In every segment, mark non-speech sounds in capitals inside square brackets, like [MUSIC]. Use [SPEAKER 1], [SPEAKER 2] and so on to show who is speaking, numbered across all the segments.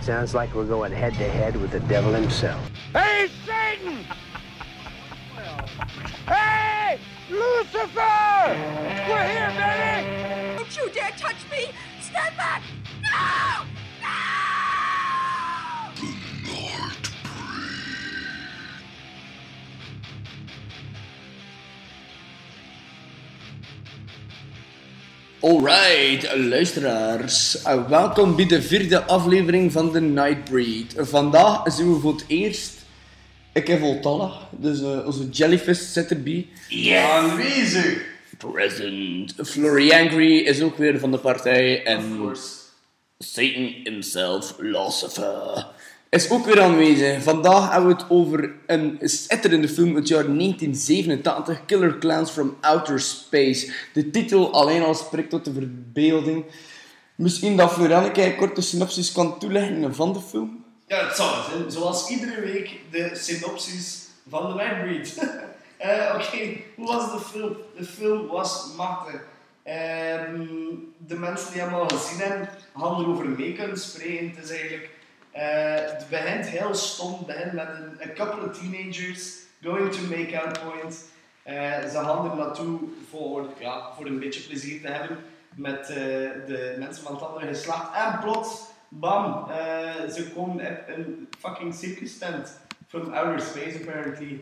[SPEAKER 1] Sounds like we're going head to head with the devil himself.
[SPEAKER 2] Hey, Satan! hey, Lucifer! We're here, baby!
[SPEAKER 3] Don't you dare touch me! Stand back! No! No!
[SPEAKER 4] Alright, luisteraars. eh, Welkom bij de vierde aflevering van The Nightbreed. Vandaag zien we voor het eerst... Ik heb voltallig, dus eh, onze jellyfish zit erbij.
[SPEAKER 5] Aanwezig!
[SPEAKER 4] Present. Floriangry is ook weer van de partij. En
[SPEAKER 5] course.
[SPEAKER 4] Satan himself, Lucifer, is ook weer aanwezig. Vandaag hebben we het over een schitterende film uit het jaar 1987, Killer Clowns from Outer Space. De titel alleen al spreekt tot de verbeelding. Misschien dat Florianke een korte synopsis kan toelichten van de film.
[SPEAKER 5] Ja, het zal het zijn. Zoals iedere week de synopsis van de Nightbreed. [LAUGHS] Eh, Oké, hoe was de film? De film was machtig. Ehm, de mensen die hem al gezien hebben, gaan erover mee kunnen spreken. Het is eigenlijk... eh, het begint heel stom. Het begint met een a couple of teenagers going to make out point. Eh, ze gaan er naartoe voor, ja, voor een beetje plezier te hebben met eh, de mensen van het andere geslacht. En plots, bam, eh, ze komen uit een fucking circus tent from outer space apparently.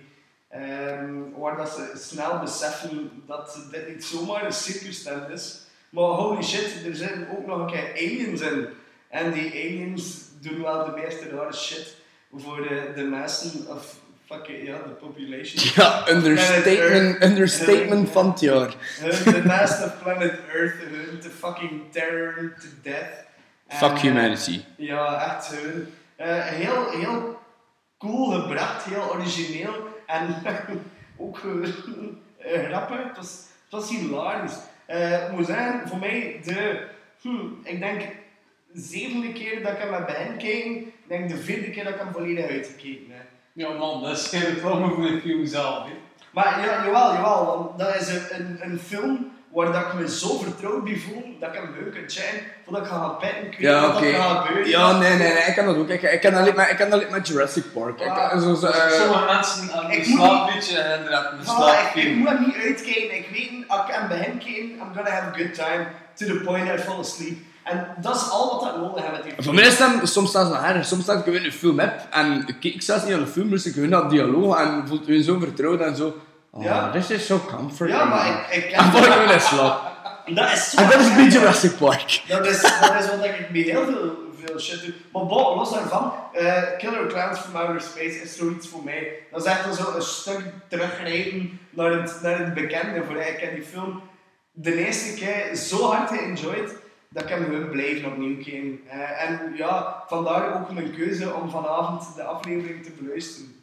[SPEAKER 5] Ehm, waar dat ze snel beseffen dat dit niet zomaar een circus tent is. Maar holy shit, er zitten ook nog een keer aliens in. En die aliens doen wel de meeste rare shit voor eh, de, de mensen of fucking, ja, de population.
[SPEAKER 4] Ja, understatement, understatement van het jaar.
[SPEAKER 5] Hun de naaste planet Earth, hun te fucking terror, hun te death.
[SPEAKER 4] Fuck
[SPEAKER 5] Eh,
[SPEAKER 4] humanity.
[SPEAKER 5] Ja, echt hun. Eh, heel, heel cool gebracht, heel origineel en [LAUGHS] ook eh, eh, grappig. Het was, het was hilarisch. Eh, het moet zijn, voor mij de, hm, ik denk, zevende keer dat ik hem heb bekeken, ik denk de vierde keer dat ik hem volledig uitgekeken heb.
[SPEAKER 6] Ja man, dat is geen film voor de film zelf. Hè.
[SPEAKER 5] Maar ja, jawel, jawel, want dat is een, een, een film waar dat ik me zo vertrouwd bij voel dat ik hem leuk kan zijn voordat ik ga gaan petten. Ik weet
[SPEAKER 4] Ja,
[SPEAKER 5] niet wat
[SPEAKER 4] oké.
[SPEAKER 5] dat gaat gebeuren.
[SPEAKER 4] Ja, nee, nee, nee, ik kan dat ook. Ik, ik kan alleen maar, ik kan alleen maar Jurassic Park. Ik,
[SPEAKER 5] Ah.
[SPEAKER 4] zo, zo, eh,
[SPEAKER 6] Sommige mensen aan
[SPEAKER 5] ik
[SPEAKER 6] een
[SPEAKER 5] moet
[SPEAKER 6] slaapwitje en er aan
[SPEAKER 5] Voilà, ik,
[SPEAKER 6] een
[SPEAKER 5] ik
[SPEAKER 6] slaapfilm.
[SPEAKER 5] moet hem niet uitkijken. Ik weet, niet, als ik hem begin kijken, I'm gonna have a good time to the point I fall asleep. En dat is al wat dat nodig hebben.
[SPEAKER 4] Voor mij is dat soms zelfs nog erger. Soms staat ik gewoon een film heb en ik kijk zelfs niet aan de film, dus ik gewoon dat dialoog en voelt u zo vertrouwd en zo. Oh,
[SPEAKER 5] Ja.
[SPEAKER 4] this is so comforting.
[SPEAKER 5] Ja, maar ik,
[SPEAKER 4] En
[SPEAKER 5] ik ken
[SPEAKER 4] val ik gewoon in slaap.
[SPEAKER 5] Dat is zo
[SPEAKER 4] En dat is een
[SPEAKER 5] erg.
[SPEAKER 4] beetje Jurassic Park.
[SPEAKER 5] Dat is, dat is wat ik bij heel veel, veel shit doe. Maar bon, los daarvan, eh, Killer Clowns from Outer Space is zoiets voor mij. Dat is echt wel zo een stuk terugrijden naar het, naar het bekende. Voor mij. Ik heb die film de eerste keer zo hard geënjoyed dat ik hem gewoon blijven opnieuw kijken. Eh, en ja, vandaar ook mijn keuze om vanavond de aflevering te beluisteren.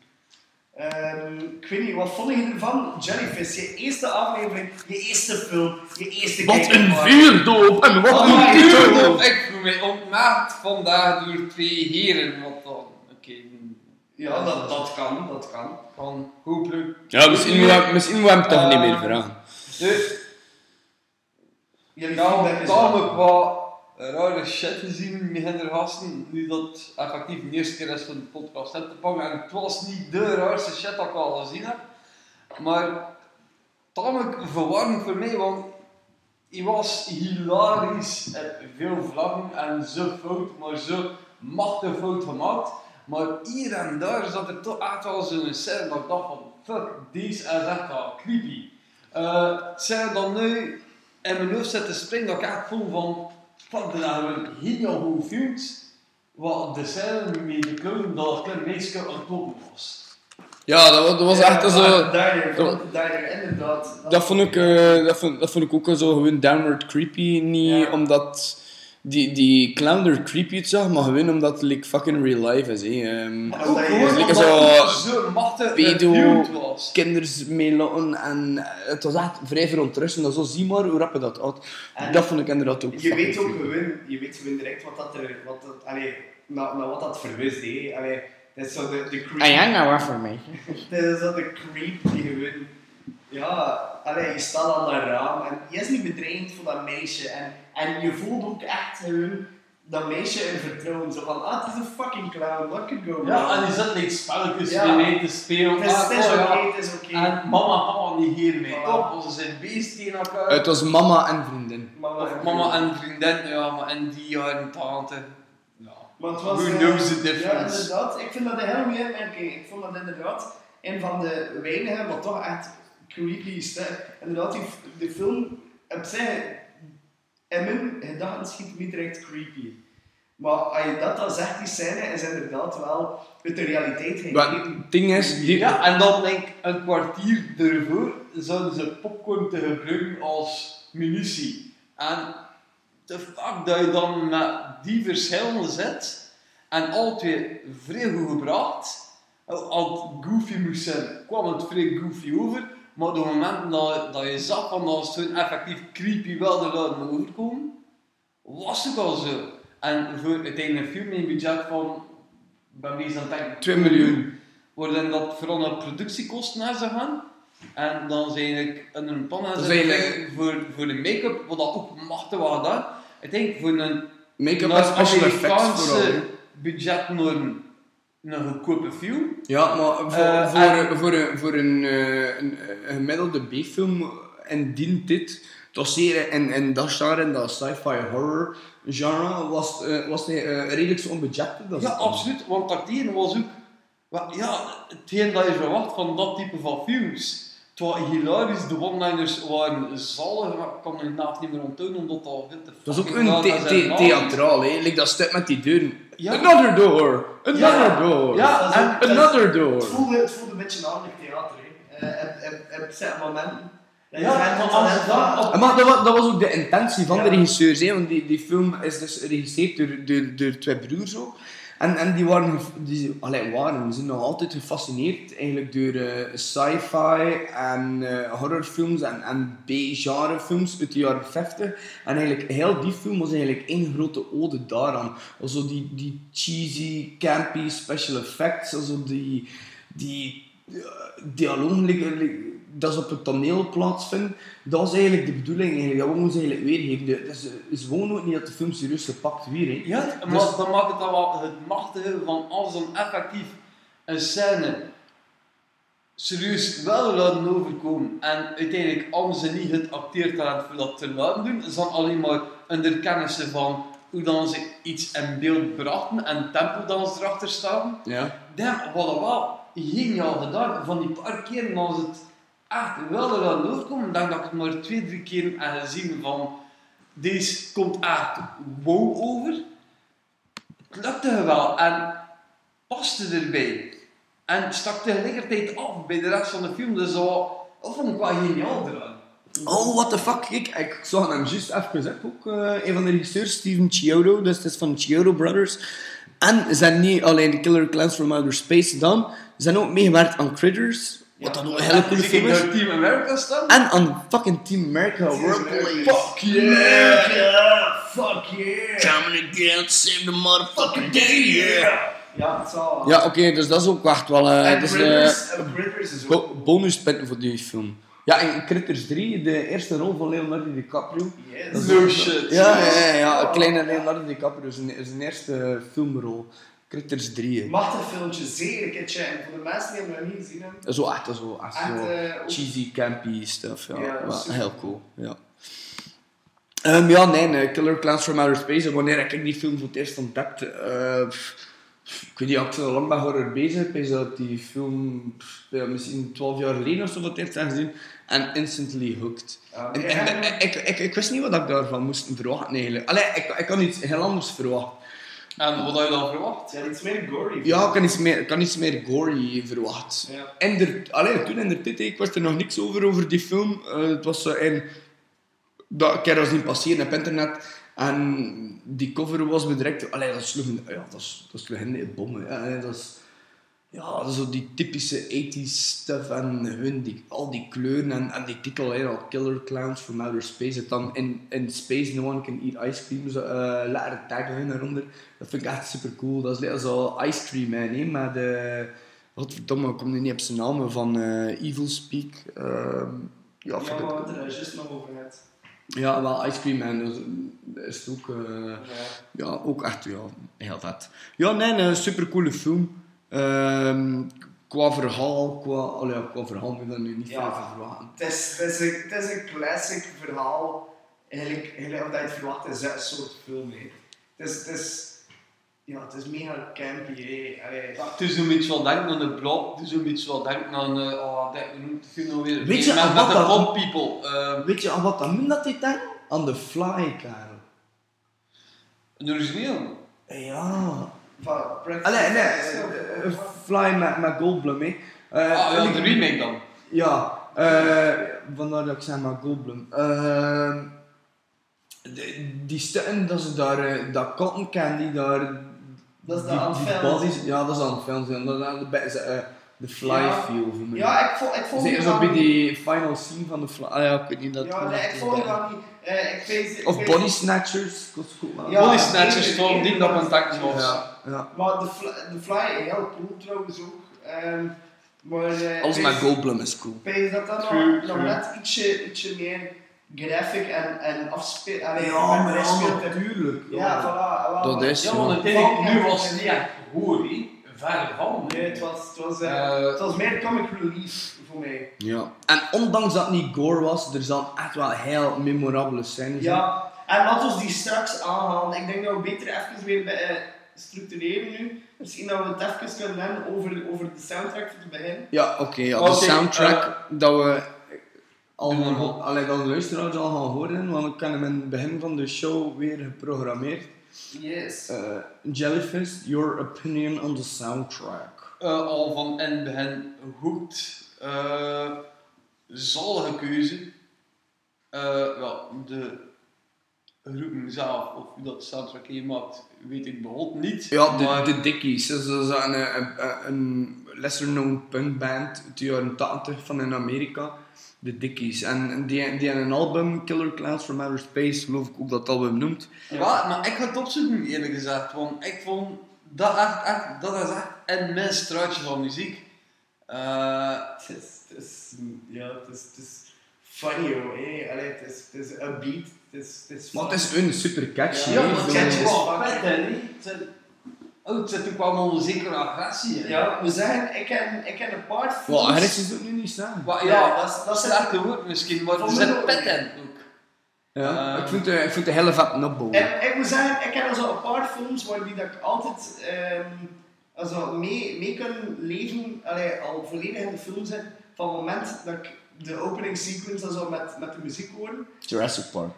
[SPEAKER 5] Ehm, ik weet niet, wat vond je ervan? Jellyfish, je eerste aflevering, je eerste film, je eerste
[SPEAKER 4] Wat een
[SPEAKER 5] kijkervaring.
[SPEAKER 4] vuurdoop en wat
[SPEAKER 5] Oh,
[SPEAKER 4] een
[SPEAKER 5] maar
[SPEAKER 4] titeldoop.
[SPEAKER 6] Ik voel mij ontmaagd vandaag door twee heren. Wat dan? Oké,
[SPEAKER 5] Ja,
[SPEAKER 6] Dus
[SPEAKER 5] dat, dat kan, dat kan.
[SPEAKER 6] van hopelijk.
[SPEAKER 4] Ja, misschien moet ik misschien moet ik hem toch niet meer vragen.
[SPEAKER 6] Dus,
[SPEAKER 5] Jullie
[SPEAKER 6] nou,
[SPEAKER 5] feedback is
[SPEAKER 6] tamelijk wat rare shit te zien met hen gasten. Nu dat effectief de eerste keer is van de podcast heb te pakken. En het was niet de raarste shit dat ik al gezien heb. Maar tamelijk verwarrend voor mij, want Hij was hilarisch en veel vlaggen en zo fout, maar zo machtig fout gemaakt. Maar hier en daar zat er toch echt wel zo'n scène dat ik dacht van fuck, deze is echt wel creepy. Eh zijn dan nu in mijn hoofd zitten springen dat ik echt voel van fuck, dat hebben we heel goed films. Wat de scène met de clown dat een klein meisje aan het lopen was.
[SPEAKER 4] Ja, dat was, dat was echt zo.
[SPEAKER 5] Ah, Daar,
[SPEAKER 4] zo-
[SPEAKER 5] daar, inderdaad.
[SPEAKER 4] Dat vond ik, eh, dat vond, dat vond ik ook wel zo gewoon downward creepy. Niet
[SPEAKER 5] Ja.
[SPEAKER 4] omdat die, die clown er creepy uitzag, maar gewoon omdat het like, fucking real life is. hè. Ehm,
[SPEAKER 5] Als
[SPEAKER 6] Ook
[SPEAKER 5] dat je-
[SPEAKER 6] gewoon
[SPEAKER 5] Lekker
[SPEAKER 6] omdat
[SPEAKER 4] zo
[SPEAKER 6] het zo machtig
[SPEAKER 4] pedo-
[SPEAKER 6] reviewed was.
[SPEAKER 4] kinders mee laten en eh, het was echt vrij verontrustend. Zo zie maar hoe rap je dat had.
[SPEAKER 5] En
[SPEAKER 4] Dat vond ik inderdaad ook
[SPEAKER 5] Je
[SPEAKER 4] fucking
[SPEAKER 5] weet ook
[SPEAKER 4] veel.
[SPEAKER 5] gewoon, je weet gewoon direct wat dat er, wat dat, allee, naar, naar wat dat verwist, hé. Allee, dat is zo de, de creep.
[SPEAKER 4] nou wat voor mij.
[SPEAKER 5] [LAUGHS] Dat is zo de creep die gewoon, ja, allee, je staat aan dat raam en je is niet bedreigend voor dat meisje. En, en je voelt ook echt gewoon dat meisje in vertrouwen. Zo van, ah, het is een fucking clown, what could go wrong?
[SPEAKER 6] Ja, en die zat like spelletjes
[SPEAKER 5] Ja.
[SPEAKER 6] mee te spelen.
[SPEAKER 5] het is,
[SPEAKER 6] Ah,
[SPEAKER 5] het is
[SPEAKER 6] oh
[SPEAKER 5] oké,
[SPEAKER 6] ja.
[SPEAKER 5] het is oké.
[SPEAKER 6] En mama en papa niet hiermee.
[SPEAKER 5] Voilà.
[SPEAKER 6] Top, ze zijn beest tegen elkaar.
[SPEAKER 4] Het was mama en vriendin.
[SPEAKER 5] Mama
[SPEAKER 6] Of
[SPEAKER 5] en-
[SPEAKER 6] mama en vriendin, ja, maar en die jaren tante. Ja.
[SPEAKER 5] Maar het was,
[SPEAKER 6] Who
[SPEAKER 5] eh,
[SPEAKER 6] knows the difference?
[SPEAKER 5] Ja, inderdaad. Ik vind dat een heel mooie opmerking. Ik vond dat inderdaad een van de weinige, maar toch echt creepy stuff. Inderdaad, die, de film op zich, in mijn gedachten schiet niet direct creepy. Maar als je dat dan zegt, die scène is inderdaad wel uit de realiteit
[SPEAKER 4] Maar
[SPEAKER 5] gegeven.
[SPEAKER 4] het ding is, die,
[SPEAKER 6] Ja, en dan denk ik een kwartier ervoor zouden ze popcorn te gebruiken als munitie. En de fuck dat je dan met die verschillen zit en alle twee vrij goed gebracht, als het goofy moest zijn, kwam het vrij goofy over. Maar op het moment dat, dat je zag van dat ze toen effectief creepy wilden laten overkomen, was het al zo. En voor uiteindelijk een film met een budget van, ik ben bezig aan het denken,
[SPEAKER 4] 2 miljoen.
[SPEAKER 6] worden dat vooral naar productiekosten naar ze gaan. En dan zijn ik in een pan aan
[SPEAKER 4] Dat is
[SPEAKER 6] zitten
[SPEAKER 4] eigenlijk-
[SPEAKER 6] voor, voor de make-up, wat dat ook machtig was gedaan. Ik denk voor een
[SPEAKER 4] Make-up en
[SPEAKER 6] naar
[SPEAKER 4] special effects vooral. hè.
[SPEAKER 6] Amerikaanse budgetnorm een goedkope film.
[SPEAKER 4] Ja, maar voor,
[SPEAKER 6] Eh,
[SPEAKER 4] voor,
[SPEAKER 6] en-
[SPEAKER 4] een- voor, een, voor een, eh, een, een gemiddelde B-film en dient dit doseren en, en dat genre, en dat sci-fi horror genre, was, eh, was hij eh, redelijk zo onbudgeted. dat
[SPEAKER 6] Ja,
[SPEAKER 4] is het dan.
[SPEAKER 6] absoluut, want dat die was ook wel, ja, hetgeen dat je verwacht van dat type van films. Het was hilarisch, de one-liners waren zalig, maar ik kan hun naam niet meer onthouden omdat dat al veel te
[SPEAKER 4] Dat is ook
[SPEAKER 6] fucking
[SPEAKER 4] een
[SPEAKER 6] raar
[SPEAKER 4] the-
[SPEAKER 6] is
[SPEAKER 4] the-
[SPEAKER 6] en
[SPEAKER 4] theatraal, hè. Like dat stuk met die deuren.
[SPEAKER 6] Ja.
[SPEAKER 4] Another door! Another
[SPEAKER 6] Ja.
[SPEAKER 4] door!
[SPEAKER 6] Ja,
[SPEAKER 5] en-
[SPEAKER 4] another door!
[SPEAKER 5] Het voelde, het voelde een beetje aan het theater. hè. Eh, Op op- op zette momenten.
[SPEAKER 6] Ja, want als dat op-
[SPEAKER 4] En Maar dat was, dat was ook de intentie van
[SPEAKER 5] Ja.
[SPEAKER 4] de regisseurs, hè, want die, die film is dus geregisseerd door, door, door twee broers ook. En, en die waren, gef- die, allee, waren, die zijn nog altijd gefascineerd eigenlijk door eh, sci-fi en eh, horrorfilms en, en B-genre films uit de jaren 50. En eigenlijk, heel die film was eigenlijk één grote ode daaraan. Also die, die cheesy, campy special effects, also die, die eh, dialoog, like- like, dat ze op het toneel plaatsvindt. Dat was eigenlijk de bedoeling, eigenlijk. dat moeten ze eigenlijk weergeven. De- Het is, het is gewoon ook niet dat de film serieus gepakt weer. hè.
[SPEAKER 6] Ja, maar
[SPEAKER 4] Dus-
[SPEAKER 6] dan maakt het dan wel het machtige van als dan effectief een scène serieus wel laten overkomen en uiteindelijk als ze niet het acteertalent voor dat te laten doen, is dan alleen maar een kennissen van hoe dan ze iets in beeld brachten en het tempo dan ze erachter staan.
[SPEAKER 4] Ja.
[SPEAKER 6] Damn, wat dat wel geniaal gedaan. Van die paar keer als het echt wel eraan doorkomen, denk dat ik het maar twee, drie keer heb gezien van deze komt echt wow over. Het lukte wel en paste erbij. En stak tegelijkertijd af bij de rest van de film, dus dat, wa- dat vond ik wel geniaal eraan.
[SPEAKER 4] Oh, what the fuck. Ik, ik zag hem juist even zeggen ook. eh, een van de regisseurs, Steven Chiodo. Dus het is van Chiodo Brothers. En zijn niet alleen Killer Clowns from Outer Space dan. Ze zijn ook meegewerkt aan Critters. Wat dan ook een hele
[SPEAKER 6] En
[SPEAKER 4] coole
[SPEAKER 6] dus ik
[SPEAKER 4] film is.
[SPEAKER 6] door Team America staan.
[SPEAKER 4] En aan fucking Team America. Workplace. Fuck yeah.
[SPEAKER 5] Fuck yeah!
[SPEAKER 4] Coming again, save the motherfucking day,
[SPEAKER 5] Ja, het zal.
[SPEAKER 4] Ja, oké, dus dat is ook echt wel... eh,
[SPEAKER 5] en
[SPEAKER 4] dus, eh,
[SPEAKER 5] Critters, en Critters is ook.
[SPEAKER 4] Bo- bonuspunten voor die film. Ja, in Critters 3, de eerste rol van Leonardo DiCaprio.
[SPEAKER 5] Yes. Oh.
[SPEAKER 4] Dat is-
[SPEAKER 6] No shit.
[SPEAKER 4] Ja, ja, ja, ja, een kleine Leonardo DiCaprio, zijn, zijn eerste filmrol. Critters 3. hè.
[SPEAKER 5] Machtig filmpje, zeer een keertje. En voor de mensen die hem nog niet gezien hebben,
[SPEAKER 4] Zo echt, zo, echt
[SPEAKER 5] Echt,
[SPEAKER 4] zo
[SPEAKER 5] eh, ook-
[SPEAKER 4] cheesy, campy stuff. Ja,
[SPEAKER 5] Ja, dat
[SPEAKER 4] Wel,
[SPEAKER 5] is super.
[SPEAKER 4] heel cool. Ja. Ehm, ja, nee, nee, Killer Clowns from Outer Space. en Wanneer ik die film voor het eerst ontdekte, eh, pff, ik weet niet, had ik zo lang met horror bezig. Ik weet dat die film pff, ja, misschien 12 jaar geleden of zo voor het eerst heb gezien. En instantly hooked.
[SPEAKER 5] Ja,
[SPEAKER 4] en,
[SPEAKER 5] ja.
[SPEAKER 4] en- en- ik, ik, ik wist niet wat ik daarvan moest verwachten eigenlijk. Allee, ik, ik had iets heel anders verwacht.
[SPEAKER 6] En wat had je dan verwacht?
[SPEAKER 5] het is iets meer gory.
[SPEAKER 4] Ja, ik kan iets meer, ik had iets meer gory verwacht.
[SPEAKER 5] Ja.
[SPEAKER 4] En er, allee, toen in de tijd, ik wist er nog niks over, over die film. Eh, het was zo in... Dat, ik heb dat zien passeren op internet. En die cover was me direct... Allee, dat sloeg in- ja, dat, is- dat sloeg in de bommen. Ja, allee, dat is... Ja, zo die typische 80s stuff en hun, die, al die kleuren en, en die titel, hè, al Killer Clowns from Outer Space. Het dan in, in Space No One Can Eat Ice Cream, zo, eh letter tagline eronder. Dat vind ik echt super cool. Dat is lekker zo Ice Cream Man, hè, maar de... Godverdomme, ik kom nu niet op zijn naam, van eh, Evil Speak. ehm, ja,
[SPEAKER 5] Ja,
[SPEAKER 4] vind ik het
[SPEAKER 5] maar we hadden er juist nog over gehad.
[SPEAKER 4] Ja, wel Ice Cream Man dus, eh, is het ook, eh,
[SPEAKER 6] Ja.
[SPEAKER 4] ja, ook echt ja, heel vet. Ja, nee, een supercoole film. Ehm, qua verhaal, qua, allee, ja, qua verhaal moet je daar nu niet
[SPEAKER 5] Ja.
[SPEAKER 4] veel van verwachten.
[SPEAKER 5] Het is, het, is een, het is een classic verhaal. Eigenlijk, eigenlijk omdat je het verwacht is dat een soort film. Hè. Het, is, het, is, ja, het is mega campy. Hè. Allee,
[SPEAKER 6] Ja, Het is een beetje wel denken aan de blok, het is een beetje wel denken aan, eh oh, dat noemt het nou weer,
[SPEAKER 4] Weet je
[SPEAKER 6] met,
[SPEAKER 4] aan
[SPEAKER 6] met
[SPEAKER 4] wat
[SPEAKER 6] de
[SPEAKER 4] dat-
[SPEAKER 6] pop people. eh,
[SPEAKER 4] Weet je aan wat dat min dat dit denkt? Aan de fly, Karel.
[SPEAKER 6] Een origineel.
[SPEAKER 4] Ja.
[SPEAKER 5] van Breakfast
[SPEAKER 4] Allee, nee,
[SPEAKER 5] at
[SPEAKER 4] eh, eh, eh, fly met, met Goldblum, hè. Eh,
[SPEAKER 6] Ah, ja,
[SPEAKER 4] ik-
[SPEAKER 6] de remake dan.
[SPEAKER 4] Ja, eh, vandaar dat ik zeg maar Goldblum. Eh, de- die stukken dat ze daar, eh, dat cotton candy daar...
[SPEAKER 5] Dat is
[SPEAKER 4] die-
[SPEAKER 5] aan
[SPEAKER 4] die
[SPEAKER 5] het filmen.
[SPEAKER 4] basis- Ja, dat is aan het film zijn. Dat is aan de, bij- ze, eh, de fly
[SPEAKER 5] Ja.
[SPEAKER 4] feel voor mij.
[SPEAKER 5] Ja, ik vond, ik vond
[SPEAKER 4] Zeker
[SPEAKER 5] het
[SPEAKER 4] zo
[SPEAKER 5] wel
[SPEAKER 4] bij
[SPEAKER 5] niet-
[SPEAKER 4] die final scene van de fly. Ah ja, ik weet niet dat...
[SPEAKER 5] Ja, nee, ik vond het wel niet. eh, ik weet- ik
[SPEAKER 4] Of
[SPEAKER 5] weet-
[SPEAKER 4] body snatchers, ik was goed wel.
[SPEAKER 5] Ja.
[SPEAKER 6] Body Snatchers
[SPEAKER 5] één-
[SPEAKER 6] van
[SPEAKER 5] één-
[SPEAKER 6] die dat contact was.
[SPEAKER 4] Ja, ja.
[SPEAKER 5] Maar de, fly- de Fly, heel cool trouwens ook. Ehm, maar, eh,
[SPEAKER 4] Alles
[SPEAKER 5] ik
[SPEAKER 4] met
[SPEAKER 5] weet-
[SPEAKER 4] Goldblum is cool.
[SPEAKER 5] Ik denk dat dat
[SPEAKER 6] True,
[SPEAKER 5] nog, nog
[SPEAKER 6] true.
[SPEAKER 5] net ietsje, ietsje meer graphic en, en afspeel. Allee, met afspeel-
[SPEAKER 4] natuurlijk.
[SPEAKER 5] Ja, voilà. voilà.
[SPEAKER 4] Dat is
[SPEAKER 6] Ja,
[SPEAKER 4] zo.
[SPEAKER 6] want uiteindelijk, nu was het niet echt hoor, hè. Verre van. hè.
[SPEAKER 5] Nee, het was, het, was, eh,
[SPEAKER 6] Eh,
[SPEAKER 5] het was meer comic relief voor mij.
[SPEAKER 4] Ja. En ondanks dat het niet gore was, er zijn echt wel heel memorabele scènes in.
[SPEAKER 5] Ja, en laten we die straks aanhalen. Ik denk dat we beter even weer bij, eh, structureren nu. Misschien dat we het even kunnen hebben over, over de soundtrack van het begin.
[SPEAKER 4] Ja, oké. ja.
[SPEAKER 6] Oké,
[SPEAKER 4] de soundtrack dat we
[SPEAKER 6] Doe
[SPEAKER 4] allemaal,
[SPEAKER 6] maar.
[SPEAKER 4] alleen dat de luisteraars al gaan horen, want ik heb hem in het begin van de show weer geprogrammeerd.
[SPEAKER 5] Yes.
[SPEAKER 4] Eh, Jellyfist, your opinion on the soundtrack.
[SPEAKER 6] eh, al van en hen hoekt. eh zalige keuze. Eh, wel, de groepen zelf, of wie dat soundtrack hier maakt, weet ik behoort niet.
[SPEAKER 4] Ja, de,
[SPEAKER 6] maar
[SPEAKER 4] de Dickies. Dat is dat is een, een, een- een lesser-known punkband uit de jaren 80 van in Amerika. De Dickies. En en die, die hebben een album, Killer Clowns from Outer Space, geloof ik ook dat het album noemt.
[SPEAKER 6] Ja, maar ik ga het opzoeken eerlijk gezegd, want ik vond dat echt, echt, dat is echt een mijn straatje van muziek. Eh,
[SPEAKER 5] Het is, het is, ja, het is, het is funny hoor. hè. Allee, het is, het is een beat. Het is, het is
[SPEAKER 4] Maar het is een super catchy.
[SPEAKER 5] Ja,
[SPEAKER 4] hè,
[SPEAKER 5] maar
[SPEAKER 4] zo.
[SPEAKER 5] catchy is
[SPEAKER 6] wel
[SPEAKER 5] fucking-
[SPEAKER 6] vet, hè, niet? Het zit- Oh, het zit ook wel een zekere agressie in.
[SPEAKER 5] Ja, we zeggen, ik heb, ik heb een paar films.
[SPEAKER 4] Wel, Harris is ook nu niet staan.
[SPEAKER 6] Maar
[SPEAKER 5] Ja,
[SPEAKER 6] ja,
[SPEAKER 5] dat is-
[SPEAKER 6] dat,
[SPEAKER 5] dat
[SPEAKER 6] is
[SPEAKER 5] is-
[SPEAKER 6] een sterke woord misschien, maar er
[SPEAKER 5] Vond ik
[SPEAKER 6] zit
[SPEAKER 5] ook
[SPEAKER 6] pet
[SPEAKER 5] niet.
[SPEAKER 6] in ook.
[SPEAKER 4] Ja.
[SPEAKER 6] Ehm.
[SPEAKER 4] ik vind het ik vind het een hele vet opbouw.
[SPEAKER 5] En ik moet zeggen, ik heb al zo een paar films waar die dat ik altijd ehm, also mee, mee kan leven, allee, al volledig in de film zit, van het moment dat ik de opening sequence also met, met de muziek hoor.
[SPEAKER 4] Jurassic Park.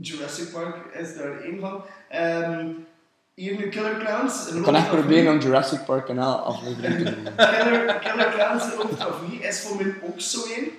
[SPEAKER 5] Jurassic Park is daar één van. Ehm, hier nu Killer Clowns.
[SPEAKER 4] Ik
[SPEAKER 5] geloof
[SPEAKER 4] kan echt
[SPEAKER 5] het of
[SPEAKER 4] proberen
[SPEAKER 5] niet.
[SPEAKER 4] om Jurassic Park kanaal aflevering te doen.
[SPEAKER 5] Killer, Killer Clowns, geloof het of niet, is voor mij ook zo één.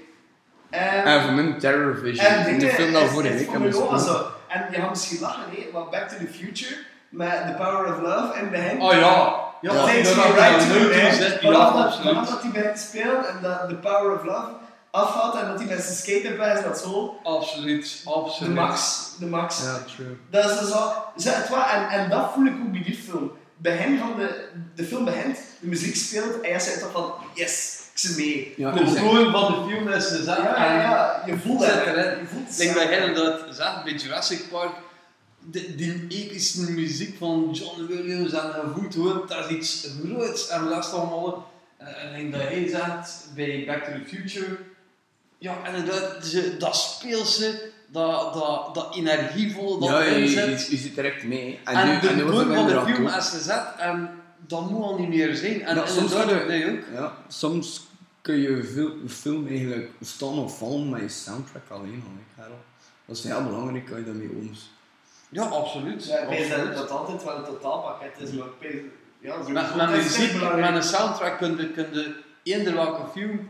[SPEAKER 4] [LAUGHS]
[SPEAKER 5] Ehm,
[SPEAKER 4] En voor mijn Terror Vision.
[SPEAKER 5] En
[SPEAKER 4] De film dat voor
[SPEAKER 5] is
[SPEAKER 4] ik heb
[SPEAKER 5] voor
[SPEAKER 4] besproken.
[SPEAKER 5] zo. En je gaat misschien lachen, hè, maar Back to the Future met The Power of Love en begin.
[SPEAKER 6] Oh ja.
[SPEAKER 5] Ja,
[SPEAKER 4] Ja,
[SPEAKER 5] thanks
[SPEAKER 6] dat
[SPEAKER 5] for
[SPEAKER 6] had ik
[SPEAKER 5] right
[SPEAKER 6] nog
[SPEAKER 5] to
[SPEAKER 6] nooit
[SPEAKER 5] it.
[SPEAKER 6] gezet, ja,
[SPEAKER 5] Vanaf dat-
[SPEAKER 6] absoluut.
[SPEAKER 5] vanaf dat hij begint te spelen en dat The Power of Love afvalt en dat hij met zijn skater bij is, dat zo.
[SPEAKER 6] Absoluut,
[SPEAKER 5] De
[SPEAKER 6] absoluut.
[SPEAKER 5] max, de max.
[SPEAKER 4] Ja, true.
[SPEAKER 5] Dat is dus al, zeg het wel, en, en dat voel ik ook bij die film. Begin van de, de film begint, de muziek speelt en jij zegt toch van, yes, ik zit mee.
[SPEAKER 4] Ja,
[SPEAKER 6] De toon van de film is de zaak.
[SPEAKER 5] Ja, ja, ja, je voelt
[SPEAKER 6] Zet
[SPEAKER 5] het.
[SPEAKER 6] erin.
[SPEAKER 5] Je voelt het.
[SPEAKER 6] Ik bij hen dat zaak bij Jurassic Park. De, die epische muziek van John Williams en haar voet hoort, dat is iets groots en last allemaal. Eh, En ik denk dat hij zegt bij Back to the Future. Ja, inderdaad, ze, dat speelse, dat, dat, dat energievolle, dat
[SPEAKER 4] Ja, je,
[SPEAKER 6] inzet.
[SPEAKER 4] je, je zit direct mee. En,
[SPEAKER 6] En,
[SPEAKER 4] nu, en nu
[SPEAKER 6] de
[SPEAKER 4] was
[SPEAKER 6] toon
[SPEAKER 4] ik
[SPEAKER 6] van
[SPEAKER 4] er
[SPEAKER 6] de
[SPEAKER 4] aan
[SPEAKER 6] film
[SPEAKER 4] toe.
[SPEAKER 6] is gezet en ehm, dat moet al niet meer zijn. En
[SPEAKER 4] Ja, soms
[SPEAKER 6] inderdaad,
[SPEAKER 4] kunnen-
[SPEAKER 6] nee, ook.
[SPEAKER 4] Ja, soms kun je veel, een film eigenlijk staan of vallen met je soundtrack alleen al. hè, Karel. Dat is heel belangrijk dat je daarmee ooms.
[SPEAKER 6] Ja, absoluut.
[SPEAKER 5] Ja, ik
[SPEAKER 6] absoluut.
[SPEAKER 5] weet dat dat altijd wel een totaalpakket is, maar ik weet- ja, zo
[SPEAKER 6] Met, met
[SPEAKER 5] dat is echt
[SPEAKER 6] muziek,
[SPEAKER 5] belangrijk.
[SPEAKER 6] met een soundtrack kun je, kun je eender welke film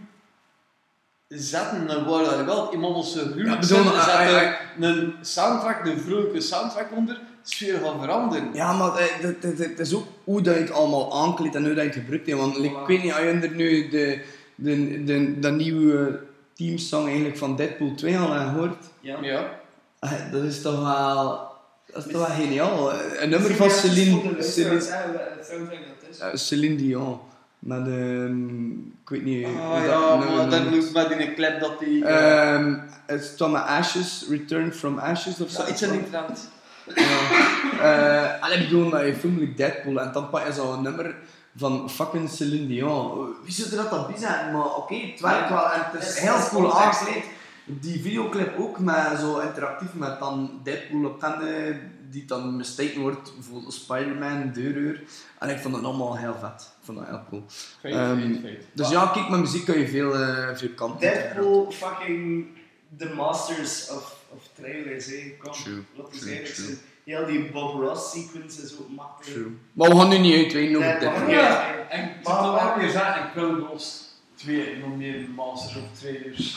[SPEAKER 6] zetten naar waar dat je wilt. Iemand als een huwelijk
[SPEAKER 4] Ja, ik bedoel,
[SPEAKER 6] zet-
[SPEAKER 4] eh,
[SPEAKER 6] zet
[SPEAKER 4] eh,
[SPEAKER 6] er een soundtrack, een vrolijke soundtrack onder, sfeer van veranderen.
[SPEAKER 4] Ja, maar eh, dat- dat- dat- het is ook hoe dat je het allemaal aankleedt en hoe dat je het gebruikt. hè. Want ik weet niet, als je er nu de, de, de, dat nieuwe teamsong eigenlijk van Deadpool 2 al aan hoort,
[SPEAKER 5] Ja.
[SPEAKER 6] Ja.
[SPEAKER 4] eh, dat is toch wel, dat is toch wel geniaal. Een nummer
[SPEAKER 5] Misschien
[SPEAKER 4] van
[SPEAKER 5] juist voor de
[SPEAKER 4] Celine,
[SPEAKER 5] luisteraars,
[SPEAKER 4] Celine,
[SPEAKER 5] hè, we- Het soundtrack dat is.
[SPEAKER 4] eh, Celine Dion. Met, ehm, ik weet niet hoe
[SPEAKER 6] Ah ja,
[SPEAKER 4] nou
[SPEAKER 6] maar dat
[SPEAKER 4] noemt.
[SPEAKER 6] noemt met die klep dat die... eh,
[SPEAKER 4] Ehm, het stond met Ashes, Return from Ashes of zo.
[SPEAKER 6] zo iets in die trant.
[SPEAKER 4] Eh, en ik bedoel dat je film like Deadpool en dan pak je zo'n nummer van fucking Celine Dion. Wie zou er dat dan bij zijn? Maar oké, het werkt wel en het is
[SPEAKER 6] Ja,
[SPEAKER 4] heel
[SPEAKER 6] dat is
[SPEAKER 4] cool
[SPEAKER 6] context,
[SPEAKER 4] aangekleed. Die videoclip ook, maar zo interactief met dan Deadpool op handen, die dan mistaken wordt voor Spider-Man, deuruur. En ik vond het allemaal heel vet. Ik vond dat heel cool. Ehm, Dus ja, kijk, met muziek kan je veel, eh, veel kanten op.
[SPEAKER 5] Deadpool fucking the masters of, of trailers, hé. Kom,
[SPEAKER 4] True,
[SPEAKER 5] wat is
[SPEAKER 4] true,
[SPEAKER 5] eerlijk
[SPEAKER 4] true.
[SPEAKER 5] zijn. Heel die Bob Ross sequence is ook machtig.
[SPEAKER 4] True. Maar we gaan nu niet uitweiden over
[SPEAKER 5] Nee, maar
[SPEAKER 4] Deadpool.
[SPEAKER 5] oké.
[SPEAKER 6] Ja, en
[SPEAKER 5] Maar-
[SPEAKER 6] maar wat je zegt, en Chronos 2 nomineerde Masters of dus. Trailers.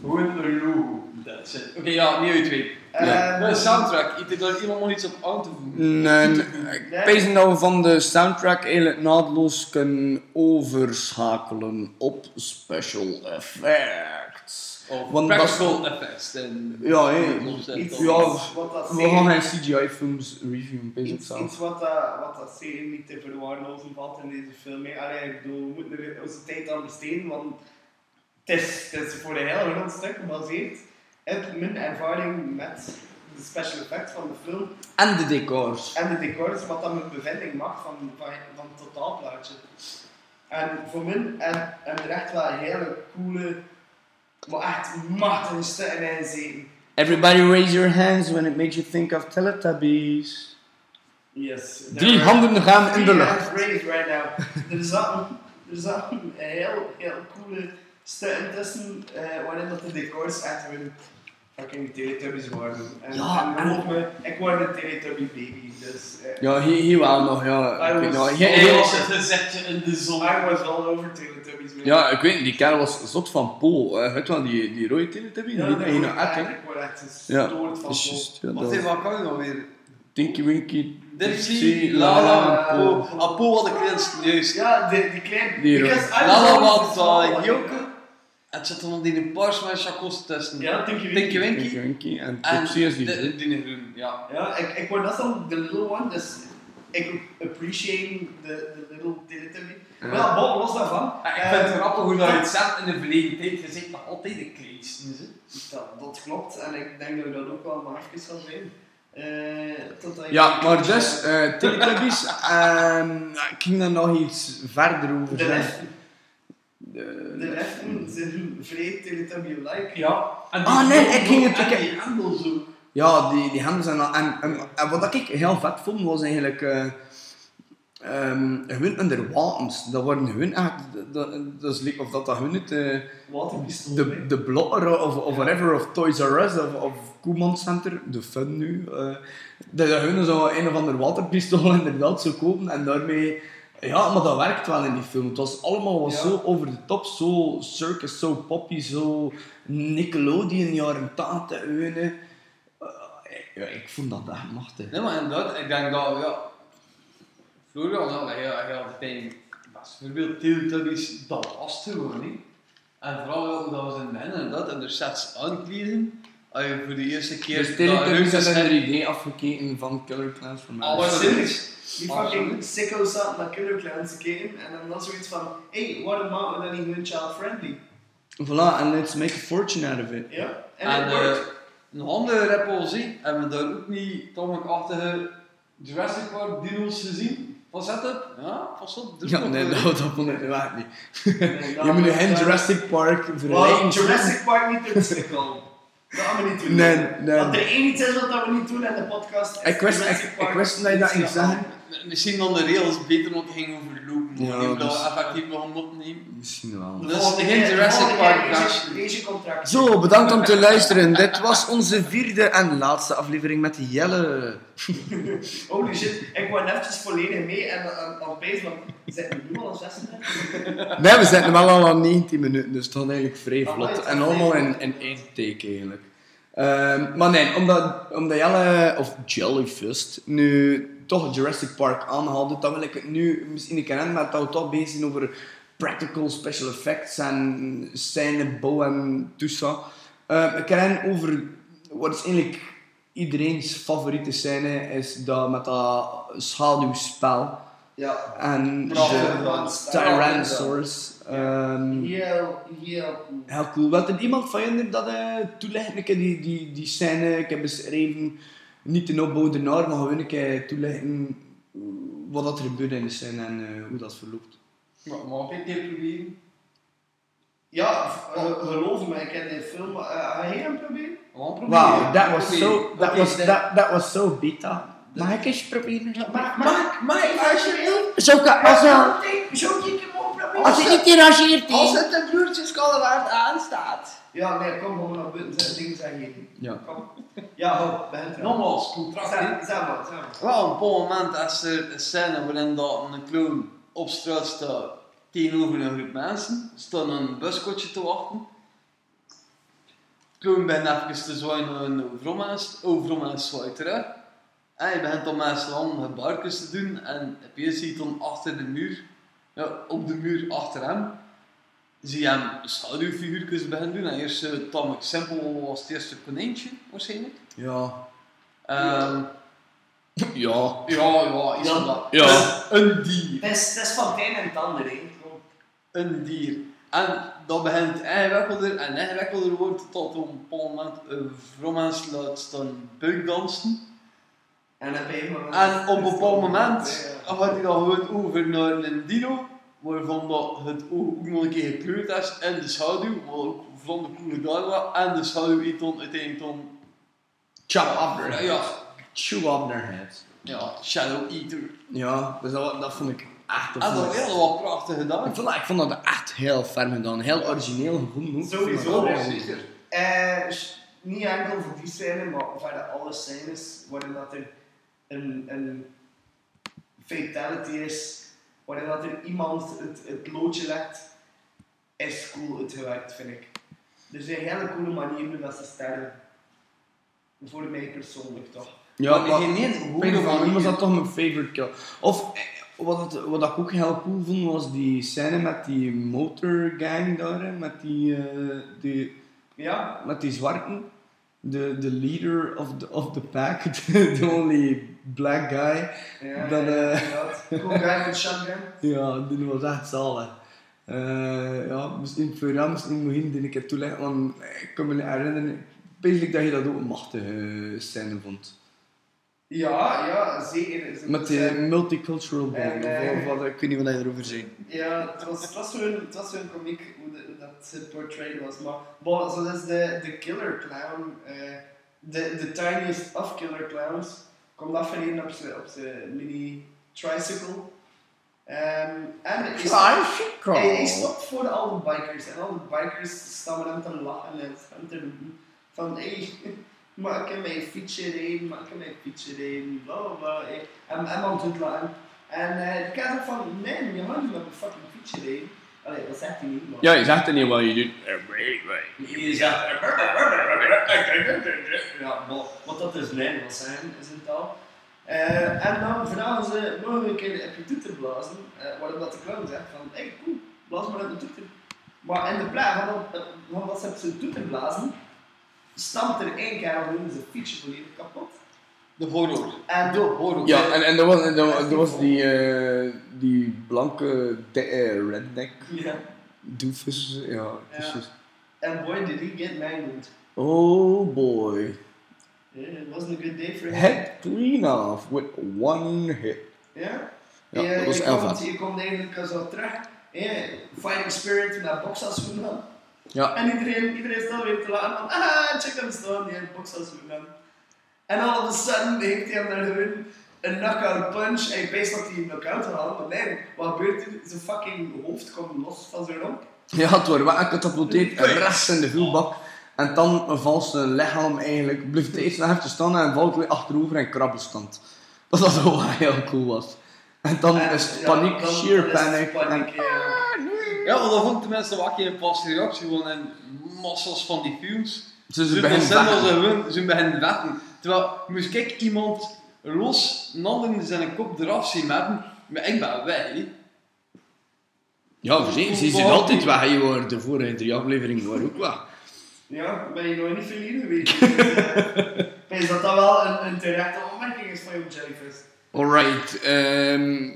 [SPEAKER 6] Gewoon een logo, that's it. Oké, ja, niet uit twee.
[SPEAKER 5] Ja.
[SPEAKER 6] De soundtrack, ik denk dat iemand nog iets op aan te voegen.
[SPEAKER 7] Nee, nee, ik pees dat
[SPEAKER 4] nou
[SPEAKER 7] we van de soundtrack eigenlijk naadloos kunnen overschakelen op special effects.
[SPEAKER 6] Of
[SPEAKER 4] Want dat-
[SPEAKER 6] practical effects. En,
[SPEAKER 4] Ja, hé.
[SPEAKER 5] Iets,
[SPEAKER 4] Ja,
[SPEAKER 5] iets wat dat
[SPEAKER 4] We gaan
[SPEAKER 5] serie-
[SPEAKER 4] geen CGI-films reviewen, pees op
[SPEAKER 5] iets,
[SPEAKER 4] zelf.
[SPEAKER 5] iets wat, dat, wat dat serie niet te verwaarlozen valt in deze film. hé. Allee, ik bedoel, we moeten er onze tijd aan besteden, want het is, het is voor een heel groot stuk gebaseerd op mijn ervaring met de special effects van de film
[SPEAKER 4] En de decors.
[SPEAKER 5] en de decors, wat dan mijn bevinding mag van, van, van het totaalplaatje. En voor mij en, en er echt wel hele coole, maar echt machtige stukken in zitten.
[SPEAKER 7] Everybody raise your hands when it makes you think of Teletubbies.
[SPEAKER 5] Yes.
[SPEAKER 7] Drie handen gaan in de lucht.
[SPEAKER 5] Raised right now. er zaten, er zaten een heel, heel coole stukken tussen, eh, waarin dat de decors echt hun fucking Teletubbies waren. En,
[SPEAKER 4] Ja,
[SPEAKER 5] en geloof me, ik word een Teletubby baby, dus... eh,
[SPEAKER 4] Ja, hier, hier wel nog, ja. Ik weet
[SPEAKER 5] was-
[SPEAKER 4] nog. Hier-
[SPEAKER 5] I
[SPEAKER 4] hier-
[SPEAKER 5] was-
[SPEAKER 6] het gezetje in de zon.
[SPEAKER 5] I was all over Teletubbies. man.
[SPEAKER 4] ja, ik weet niet, die kerel was zot van Pool. eh weet je wel, die, die rode teletubby?
[SPEAKER 5] Ja,
[SPEAKER 4] die
[SPEAKER 5] dat
[SPEAKER 4] die
[SPEAKER 5] wordt
[SPEAKER 4] nou echt, hè?
[SPEAKER 5] eigenlijk wel echt
[SPEAKER 4] Ja,
[SPEAKER 5] gestoord van
[SPEAKER 4] dat is
[SPEAKER 5] Bob.
[SPEAKER 4] juist, ja,
[SPEAKER 6] Wat
[SPEAKER 4] dat-
[SPEAKER 6] is wat kan je nou weer?
[SPEAKER 4] Tinky Winky,
[SPEAKER 6] Dipsy,
[SPEAKER 4] La La,
[SPEAKER 6] Lala,
[SPEAKER 4] en Pool.
[SPEAKER 6] Apo. Apo had ik eerst juist.
[SPEAKER 5] Ja, die, die kleine...
[SPEAKER 4] Die
[SPEAKER 5] because
[SPEAKER 4] rood.
[SPEAKER 5] I'm
[SPEAKER 6] Lala
[SPEAKER 5] always
[SPEAKER 6] wat
[SPEAKER 5] small,
[SPEAKER 6] eh, Joke. Het zat dan nog die paars met chacos tussen.
[SPEAKER 5] Ja, Tinky Winky.
[SPEAKER 6] Tinky
[SPEAKER 4] Tinky
[SPEAKER 6] Winky.
[SPEAKER 4] Winky en
[SPEAKER 6] En
[SPEAKER 4] Tipsy is die.
[SPEAKER 6] de-
[SPEAKER 4] hè?
[SPEAKER 6] die groen, ja.
[SPEAKER 5] Ja, ik, ik word dat dan de little one, dus ik appreciate de, de little Teletubby. Maar ja, Bob, los daarvan.
[SPEAKER 6] Ja, Ik
[SPEAKER 5] eh,
[SPEAKER 6] vind het grappig hoe dat je het zegt in de verleden tijd. Je zegt nog altijd de kleinste. hè.
[SPEAKER 5] dat, dat klopt, en ik denk dat we dat ook wel maar even zal zijn. Eh, totdat je-
[SPEAKER 4] Ja, maar dus, eh Teletubbies,
[SPEAKER 6] eh,
[SPEAKER 4] ehm, ik ging daar nog iets verder over
[SPEAKER 6] dus-
[SPEAKER 5] de
[SPEAKER 4] zeggen.
[SPEAKER 5] rechten. De rechten zijn vrij Teletubby-like.
[SPEAKER 6] Ja. En
[SPEAKER 4] Ah, nee, ik ging het-
[SPEAKER 6] En
[SPEAKER 4] ik-
[SPEAKER 6] die handel zo.
[SPEAKER 4] Ja, die, die hemden zijn al... En, en, en wat ik heel vet vond, was eigenlijk... eh ehm hun onder wapens. Dat waren hun echt... Dat, dat is leek of dat dat hun het... eh,
[SPEAKER 5] Waterpistool. hè.
[SPEAKER 4] de, de blotter of, of whatever, of Toys R Us, of, of Koeman Center, de fun nu. eh dat dat hun zo een of ander waterpistool [LAUGHS] inderdaad zou kopen en daarmee... Ja, maar dat werkt wel in die film. Het was allemaal was zo over de top, zo circus, zo poppy, zo Nickelodeon, jaren 80, eunen. Eh, ja, ik vond dat echt machtig.
[SPEAKER 6] Nee, maar inderdaad, ik denk dat, ja... Florian, ja, dat heel, heel de tijd... Best voorbeeld, Teletubbies, dat was het gewoon, niet. En vooral ja, hoe dat was in de en dat, en er sets aankleden. Als je voor de eerste keer...
[SPEAKER 4] Dus
[SPEAKER 6] dat
[SPEAKER 4] Teletubbies
[SPEAKER 6] ruimte
[SPEAKER 4] hebben
[SPEAKER 6] hebt,
[SPEAKER 4] er idee afgekeken van Killer Clowns voor mij.
[SPEAKER 6] alles is.
[SPEAKER 5] Die fucking sicko zat naar Killer Clowns te kijken en dan was zoiets van: hey, waarom maken we dat niet hun child-friendly?
[SPEAKER 4] Voilà, and let's make a fortune out of it.
[SPEAKER 5] Ja, en
[SPEAKER 6] En
[SPEAKER 5] het
[SPEAKER 6] eh,
[SPEAKER 5] werkt.
[SPEAKER 6] een andere repulsie hebben we daar ook niet tamelijk-achtige Jurassic Park dino's gezien. Van setup? Ja, pas op. er
[SPEAKER 4] Ja,
[SPEAKER 5] [LAUGHS]
[SPEAKER 6] komt
[SPEAKER 4] nee, nou-
[SPEAKER 6] een-
[SPEAKER 4] dat, dat vond ik nu echt niet.
[SPEAKER 5] Nee,
[SPEAKER 4] [LAUGHS]
[SPEAKER 5] dat
[SPEAKER 4] Je moet nu
[SPEAKER 5] was-
[SPEAKER 4] geen
[SPEAKER 5] dat-
[SPEAKER 4] Jurassic Park vergelijken.
[SPEAKER 5] Well, Jurassic
[SPEAKER 4] [LAUGHS]
[SPEAKER 5] Park niet doen, sicko. Dat gaan we niet doen.
[SPEAKER 4] Nee, nee.
[SPEAKER 5] Want er één iets is wat dat we niet doen in de podcast. is
[SPEAKER 4] Ik wist, ik,
[SPEAKER 5] Jurassic
[SPEAKER 4] ik
[SPEAKER 5] Park.
[SPEAKER 4] wist dat je dat ging
[SPEAKER 5] Ja.
[SPEAKER 4] zeggen.
[SPEAKER 6] M- Misschien dan de rails beter nog ging overlopen.
[SPEAKER 4] Ja,
[SPEAKER 6] Ja, die dat
[SPEAKER 4] dus-
[SPEAKER 6] effectief begon opnemen.
[SPEAKER 4] Misschien wel.
[SPEAKER 5] De
[SPEAKER 6] Dus
[SPEAKER 5] volgende
[SPEAKER 6] geen
[SPEAKER 5] keer- de
[SPEAKER 6] Jurassic
[SPEAKER 5] volgende keer
[SPEAKER 6] Park
[SPEAKER 5] lees je-
[SPEAKER 6] versie.
[SPEAKER 5] Lees je contract.
[SPEAKER 7] Zo, bedankt om te luisteren. Dit was onze vierde en laatste aflevering met Jelle.
[SPEAKER 5] Holy shit, ik word netjes volledig mee en eh, en- en opeens van: zijn we nu al aan 36?
[SPEAKER 4] Nee, we zitten wel al aan 19 minuten, dus het gaat eigenlijk vrij
[SPEAKER 5] Ah,
[SPEAKER 4] vlot.
[SPEAKER 5] het
[SPEAKER 4] En
[SPEAKER 5] gaat
[SPEAKER 4] allemaal
[SPEAKER 5] vrij
[SPEAKER 4] in,
[SPEAKER 5] vlot.
[SPEAKER 4] in één take eigenlijk. Ehm, maar nee, omdat, omdat Jelle, of Jellyfist, nu toch Jurassic Park aanhaalde, dan wil ik het nu misschien niet kennen, maar dat we toch bezig zijn over practical special effects en scène, bouw en toesa. Eh ik ken over wat is eigenlijk iedereen's favoriete scène is dat met dat schaduwspel
[SPEAKER 5] Ja.
[SPEAKER 4] En
[SPEAKER 5] Braaf,
[SPEAKER 4] de
[SPEAKER 5] Frans.
[SPEAKER 4] Tyrannosaurus. ehm,
[SPEAKER 5] Heel, heel cool.
[SPEAKER 4] Heel cool. Wat er iemand van je dat eh toelicht? Ik heb die, die, die scène, ik heb beschreven, niet in opbouw ernaar, maar gewoon een keer toelichten wat dat er gebeurt in de scène en eh, hoe dat verloopt.
[SPEAKER 6] Maar mag ik een keer proberen?
[SPEAKER 5] Ja, v- eh, geloof me, ik heb die film. eh, Ga je hem proberen?
[SPEAKER 6] Gewoon proberen.
[SPEAKER 4] Wow, that was
[SPEAKER 6] Oké,
[SPEAKER 4] so, that
[SPEAKER 6] oké,
[SPEAKER 4] was,
[SPEAKER 6] dan-
[SPEAKER 4] that, that was so beta. Mag ik eens proberen?
[SPEAKER 5] Maar, maar, maar alsjeblieft.
[SPEAKER 8] Zo kan, als, eh,
[SPEAKER 5] Zo kijk hem ook proberen.
[SPEAKER 8] als het niet gerageerd
[SPEAKER 5] als
[SPEAKER 8] is.
[SPEAKER 5] het de broertjes Kallewaard aanstaat. Ja, nee, kom gewoon naar buiten. Zet dingen zijn hier.
[SPEAKER 4] Ja.
[SPEAKER 5] Kom. Ja, ho, begint er.
[SPEAKER 6] Nogmaals, contrast. hè.
[SPEAKER 5] Zeg zeg maar, zeg maar.
[SPEAKER 6] Wel, op een bepaald moment is er een scène waarin dat een clown op straat staat tegenover een groep mensen. Er staat een buskotje te wachten. De clown begint even te zwaaien naar een vrommens. Oh, vrommens zwaait terug. En je begint dan met z'n handen gebarkjes te doen. En opeens zie je dan achter de muur, ja, op de muur achter hem, zie je hem schaduwfiguurtjes beginnen doen. En eerst uh, Tom Simpel was het eerste konijntje, waarschijnlijk.
[SPEAKER 4] Ja.
[SPEAKER 6] Ehm,
[SPEAKER 7] Ja.
[SPEAKER 6] ja, ja, is
[SPEAKER 5] Ja.
[SPEAKER 6] dat.
[SPEAKER 7] Ja.
[SPEAKER 6] Een dier.
[SPEAKER 5] Dat is, dat is van het een en het ander, hè.
[SPEAKER 6] Een dier. En dat begint ingewikkelder en ingewikkelder wordt tot op een bepaald moment een vrommens laat staan buikdansen.
[SPEAKER 5] En op een moment...
[SPEAKER 6] En op een bepaald moment
[SPEAKER 5] Ja.
[SPEAKER 6] gaat hij dan gewoon over naar een dino, waarvan dat het oog ook nog een keer gekleurd is en de schaduw, maar ook van de koele garla en de schaduw eet dan uiteindelijk dan,
[SPEAKER 4] Chop up their head.
[SPEAKER 6] ja,
[SPEAKER 4] Chew up their head.
[SPEAKER 6] ja, Shadow Eater.
[SPEAKER 4] Ja, dus dat, dat vond ik echt...
[SPEAKER 6] En
[SPEAKER 4] vond
[SPEAKER 6] dat
[SPEAKER 4] ik-
[SPEAKER 6] is Ah, wel prachtig
[SPEAKER 4] ik,
[SPEAKER 6] gedaan.
[SPEAKER 4] vond, dat- ik vond dat echt heel ferm gedaan. Heel origineel gevonden. ook.
[SPEAKER 5] Sowieso,
[SPEAKER 4] Ja.
[SPEAKER 5] zeker. Eh, s- niet enkel voor die scène, maar verder alle scènes waarin dat er een, een fatality is, waarin dat er iemand het, het loodje legt, is cool uitgewerkt, vind ik. Er zijn hele coole manieren dat ze sterven. Voor mij persoonlijk toch.
[SPEAKER 4] Ja,
[SPEAKER 6] Maar
[SPEAKER 4] maar-
[SPEAKER 6] geen ene
[SPEAKER 4] Op een
[SPEAKER 6] goede
[SPEAKER 4] of andere manier was
[SPEAKER 6] manier.
[SPEAKER 4] dat toch mijn favorite kill. Of eh, wat, dat, wat ik ook heel cool vond was die scène met die motorgang daar, hè, met die, eh, die,
[SPEAKER 5] Ja?
[SPEAKER 4] met die zwarten. De, de leader of the, of the pack, [LAUGHS] the, the only black guy.
[SPEAKER 5] ja
[SPEAKER 4] Dat, eh,
[SPEAKER 5] inderdaad. Cool guy met shotgun.
[SPEAKER 4] Ja, die was echt zalig. Eh, ja, misschien voor jou, misschien moet je hem die een keer toelichten, want ik kan me niet herinneren. Basically dat je dat ook een machtige eh, scène vond.
[SPEAKER 5] Ja, ja, zeker. Is het-
[SPEAKER 4] Met die multicultural band,
[SPEAKER 5] eh,
[SPEAKER 4] of, wat, ik weet niet wat je erover zei.
[SPEAKER 5] Ja, het was, het was wel een, het was wel een komiek hoe, de- hoe dat ze portrayed was. Maar, maar zo dat is de, de killer clown, eh, de, de tiniest of killer clowns, komt af en in op zijn op zijn mini tricycle. Ehm, en hij stopt, hij, hij stopt voor al de bikers en al de bikers staan met hem te lachen en staan te roepen van hey, [LAUGHS] maak hem mijn fietsje heen, maak hem mijn fietsje heen, bla bla bla. eh. En, en man doet lachen. En eh, ik had ook van, nee, je mag niet met mijn fucking fietsje rijden. Allee, dat zegt hij niet, maar...
[SPEAKER 7] Ja, je zegt er niet wat je doet.
[SPEAKER 5] Je zegt... Ja, maar wat dat dus lijn was zijn, is het al. Eh, en dan vragen ze, mogen we een keer op je toeter blazen? Eh waarom dat de clown zegt van, hey, cool, blaas maar op de toeter. Maar in de plaats van, dat- van dat ze op zijn toeter blazen, stampt er één kerel gewoon zijn fietsje volledig kapot.
[SPEAKER 6] De horror.
[SPEAKER 5] En
[SPEAKER 6] De horror.
[SPEAKER 7] Ja, en, en er was, er was, er was die, eh, die blanke de- eh, redneck
[SPEAKER 5] Ja.
[SPEAKER 7] doofus. Ja, precies.
[SPEAKER 5] En boy, did he get mangled.
[SPEAKER 7] Oh boy.
[SPEAKER 5] Eh, it wasn't a good day for him.
[SPEAKER 7] Head clean off with one hit.
[SPEAKER 5] Ja?
[SPEAKER 7] Ja,
[SPEAKER 5] je,
[SPEAKER 7] dat was
[SPEAKER 5] je
[SPEAKER 7] Elva.
[SPEAKER 5] komt, je komt eigenlijk eh, zo terug. hè, fighting spirit naar boksaschoen dan.
[SPEAKER 7] Ja.
[SPEAKER 5] En iedereen, iedereen is dan weer te laat. Van, ah, check hem staan, die heeft boksaschoen dan. En all of a sudden heeft hij hem naar hun een knockout punch. Hij peest dat hij een knockout haalt. Maar nee, wat gebeurt er? Zijn fucking hoofd komt los van zijn romp.
[SPEAKER 4] Ja, het wordt wel gecatapulteerd rechts in de vuilbak. En dan valt zijn lichaam eigenlijk, blijft eerst nog even staan en valt weer achterover in krabbelstand. Dat dat ook wel [LAUGHS] heel cool was. En dan
[SPEAKER 5] En,
[SPEAKER 4] is het
[SPEAKER 5] ja,
[SPEAKER 4] paniek,
[SPEAKER 5] dan
[SPEAKER 4] sheer
[SPEAKER 5] is het
[SPEAKER 4] paniek. En,
[SPEAKER 5] paniek, ja.
[SPEAKER 6] Ja, want dat vond ik tenminste wel geen vaste reactie, want in massas van die films
[SPEAKER 4] ze
[SPEAKER 6] zijn
[SPEAKER 4] zijn
[SPEAKER 6] de
[SPEAKER 4] beginnen
[SPEAKER 6] scènes
[SPEAKER 4] te
[SPEAKER 6] gewoon, ze beginnen wetten. Terwijl, moest ik iemand los, een ander zijn kop eraf zien hebben, maar ik ben weg. hè.
[SPEAKER 4] Ja, ze ze zijn altijd weg. Je hoort de vorige drie afleveringen waren ook weg.
[SPEAKER 5] Ja, ben je nooit niet verliezen
[SPEAKER 6] [LAUGHS]
[SPEAKER 5] geweest. Dus, eh, Ik Pees dat dat wel een, een terechte opmerking is van jouw Jellyfish.
[SPEAKER 7] Alright. ehm,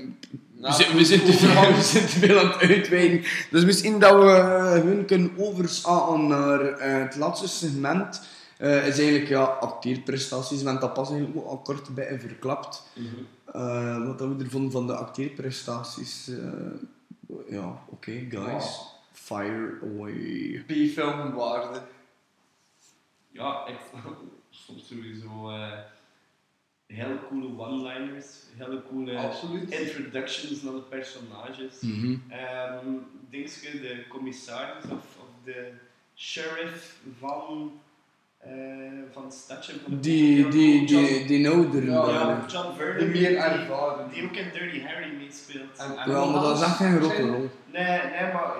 [SPEAKER 6] Nou,
[SPEAKER 4] we, zijn- we zijn te veel, we zijn te veel aan het uitweiden. Dus misschien dat we eh, hun kunnen overslaan naar eh, het laatste segment. eh, is eigenlijk ja, acteerprestaties. We hebben dat pas eigenlijk ook al kort bij en verklapt. Eh, wat dat we ervan van de acteerprestaties. eh, ja, oké, guys. Fire away.
[SPEAKER 6] B-film waarde.
[SPEAKER 5] Ja, ik [LAUGHS] vond sowieso eh, hele coole one-liners, hele coole
[SPEAKER 6] Absoluut.
[SPEAKER 5] introductions naar de personages.
[SPEAKER 4] Mhm.
[SPEAKER 5] Ehm Dingske, de commissaris of, of de sheriff van, eh, van het stadje. Van
[SPEAKER 4] Die, die,
[SPEAKER 5] John,
[SPEAKER 4] die, die ouder.
[SPEAKER 6] Ja,
[SPEAKER 5] ja,
[SPEAKER 4] Ja,
[SPEAKER 5] John
[SPEAKER 6] De
[SPEAKER 5] Vernon,
[SPEAKER 6] meer
[SPEAKER 5] die,
[SPEAKER 6] ervaren.
[SPEAKER 5] die ook in Dirty Harry meespeelt.
[SPEAKER 6] En-
[SPEAKER 5] En-
[SPEAKER 4] ja, maar dat is echt geen grote rol.
[SPEAKER 5] Nee, nee, maar...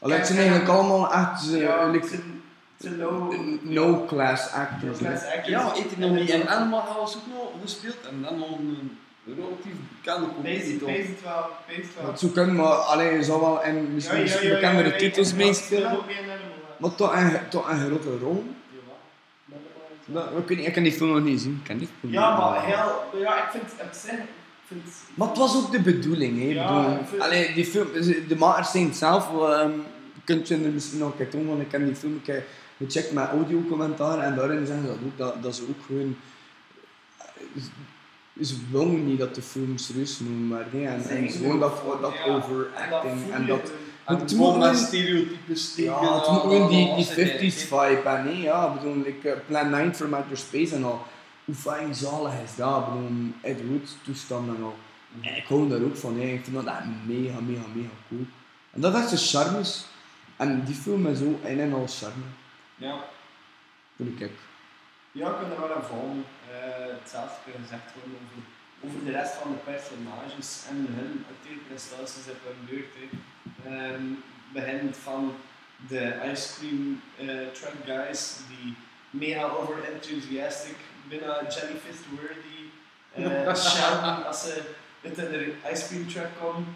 [SPEAKER 4] Allee, het zijn eigenlijk allemaal echt eh,
[SPEAKER 5] Ja,
[SPEAKER 4] like,
[SPEAKER 5] het zijn- het zijn low...
[SPEAKER 4] no-class actors. hè.
[SPEAKER 6] Ja, ik heb nog niet in Animal House ook nog gespeeld en dan nog een relatief bekende comedie
[SPEAKER 5] Deze,
[SPEAKER 6] toch?
[SPEAKER 5] deze wel, deze wel.
[SPEAKER 4] Dat zou kunnen, maar alleen je zou wel in
[SPEAKER 5] Ja,
[SPEAKER 4] Dus misschien
[SPEAKER 5] ja, ja, ja,
[SPEAKER 4] bekendere
[SPEAKER 5] ja, ja,
[SPEAKER 4] titels
[SPEAKER 5] ja,
[SPEAKER 4] meespelen.
[SPEAKER 5] dat is ook weer een animal, hè.
[SPEAKER 4] Maar toch een, toch een grote rol. Dat, ik, weet niet, ik kan die film nog niet zien. Ik kan niet
[SPEAKER 5] Ja, maar heel, ja, ik vind het zeg, ik vind
[SPEAKER 4] Maar het was ook de bedoeling. Hè. Ik
[SPEAKER 5] Ja,
[SPEAKER 4] bedoel,
[SPEAKER 5] ik vind-
[SPEAKER 4] allee, die film, de makers zijn het zelf. ehm kunt je er misschien nog een keer doen, want ik heb die film een keer gecheckt met audiocommentaar. En daarin zeggen ze dat ook, dat, dat ze ook gewoon... eh, Ze- Ze wilden niet dat de film serieus noemen werd. hè. En, en ze gewoon dat, dat
[SPEAKER 5] Ja,
[SPEAKER 4] overacting.
[SPEAKER 5] voel
[SPEAKER 4] en
[SPEAKER 5] je
[SPEAKER 4] dat,
[SPEAKER 5] gewoon.
[SPEAKER 6] En
[SPEAKER 4] het
[SPEAKER 6] toen
[SPEAKER 4] moet
[SPEAKER 6] met
[SPEAKER 4] gewoon-
[SPEAKER 6] stereotypes steken.
[SPEAKER 4] Ja, het moet gewoon die, die 50s vibe en nee, ja, ik bedoel, ik, eh, Plan 9 from Outer Space en al. Hoe fijn zalig is dat? Ik bedoel, Ed Wood toestand en al. En ik hou daar ook van, hè. ik vind dat echt mega, mega, mega cool. En dat is de charmes. En die film is zo in en al charme,
[SPEAKER 5] Ja,
[SPEAKER 4] vind ik.
[SPEAKER 5] ja, ik kan er wel aan volgen. Eh, hetzelfde gezegd worden over, over de rest van de personages en hun acteerprestaties op hun beurt. hè. Ehm beginnend van de ice cream eh, truck guys die mega over enthusiastic binnen Jellyfish Worthy eh shouten als ze uit in de ice cream truck komen.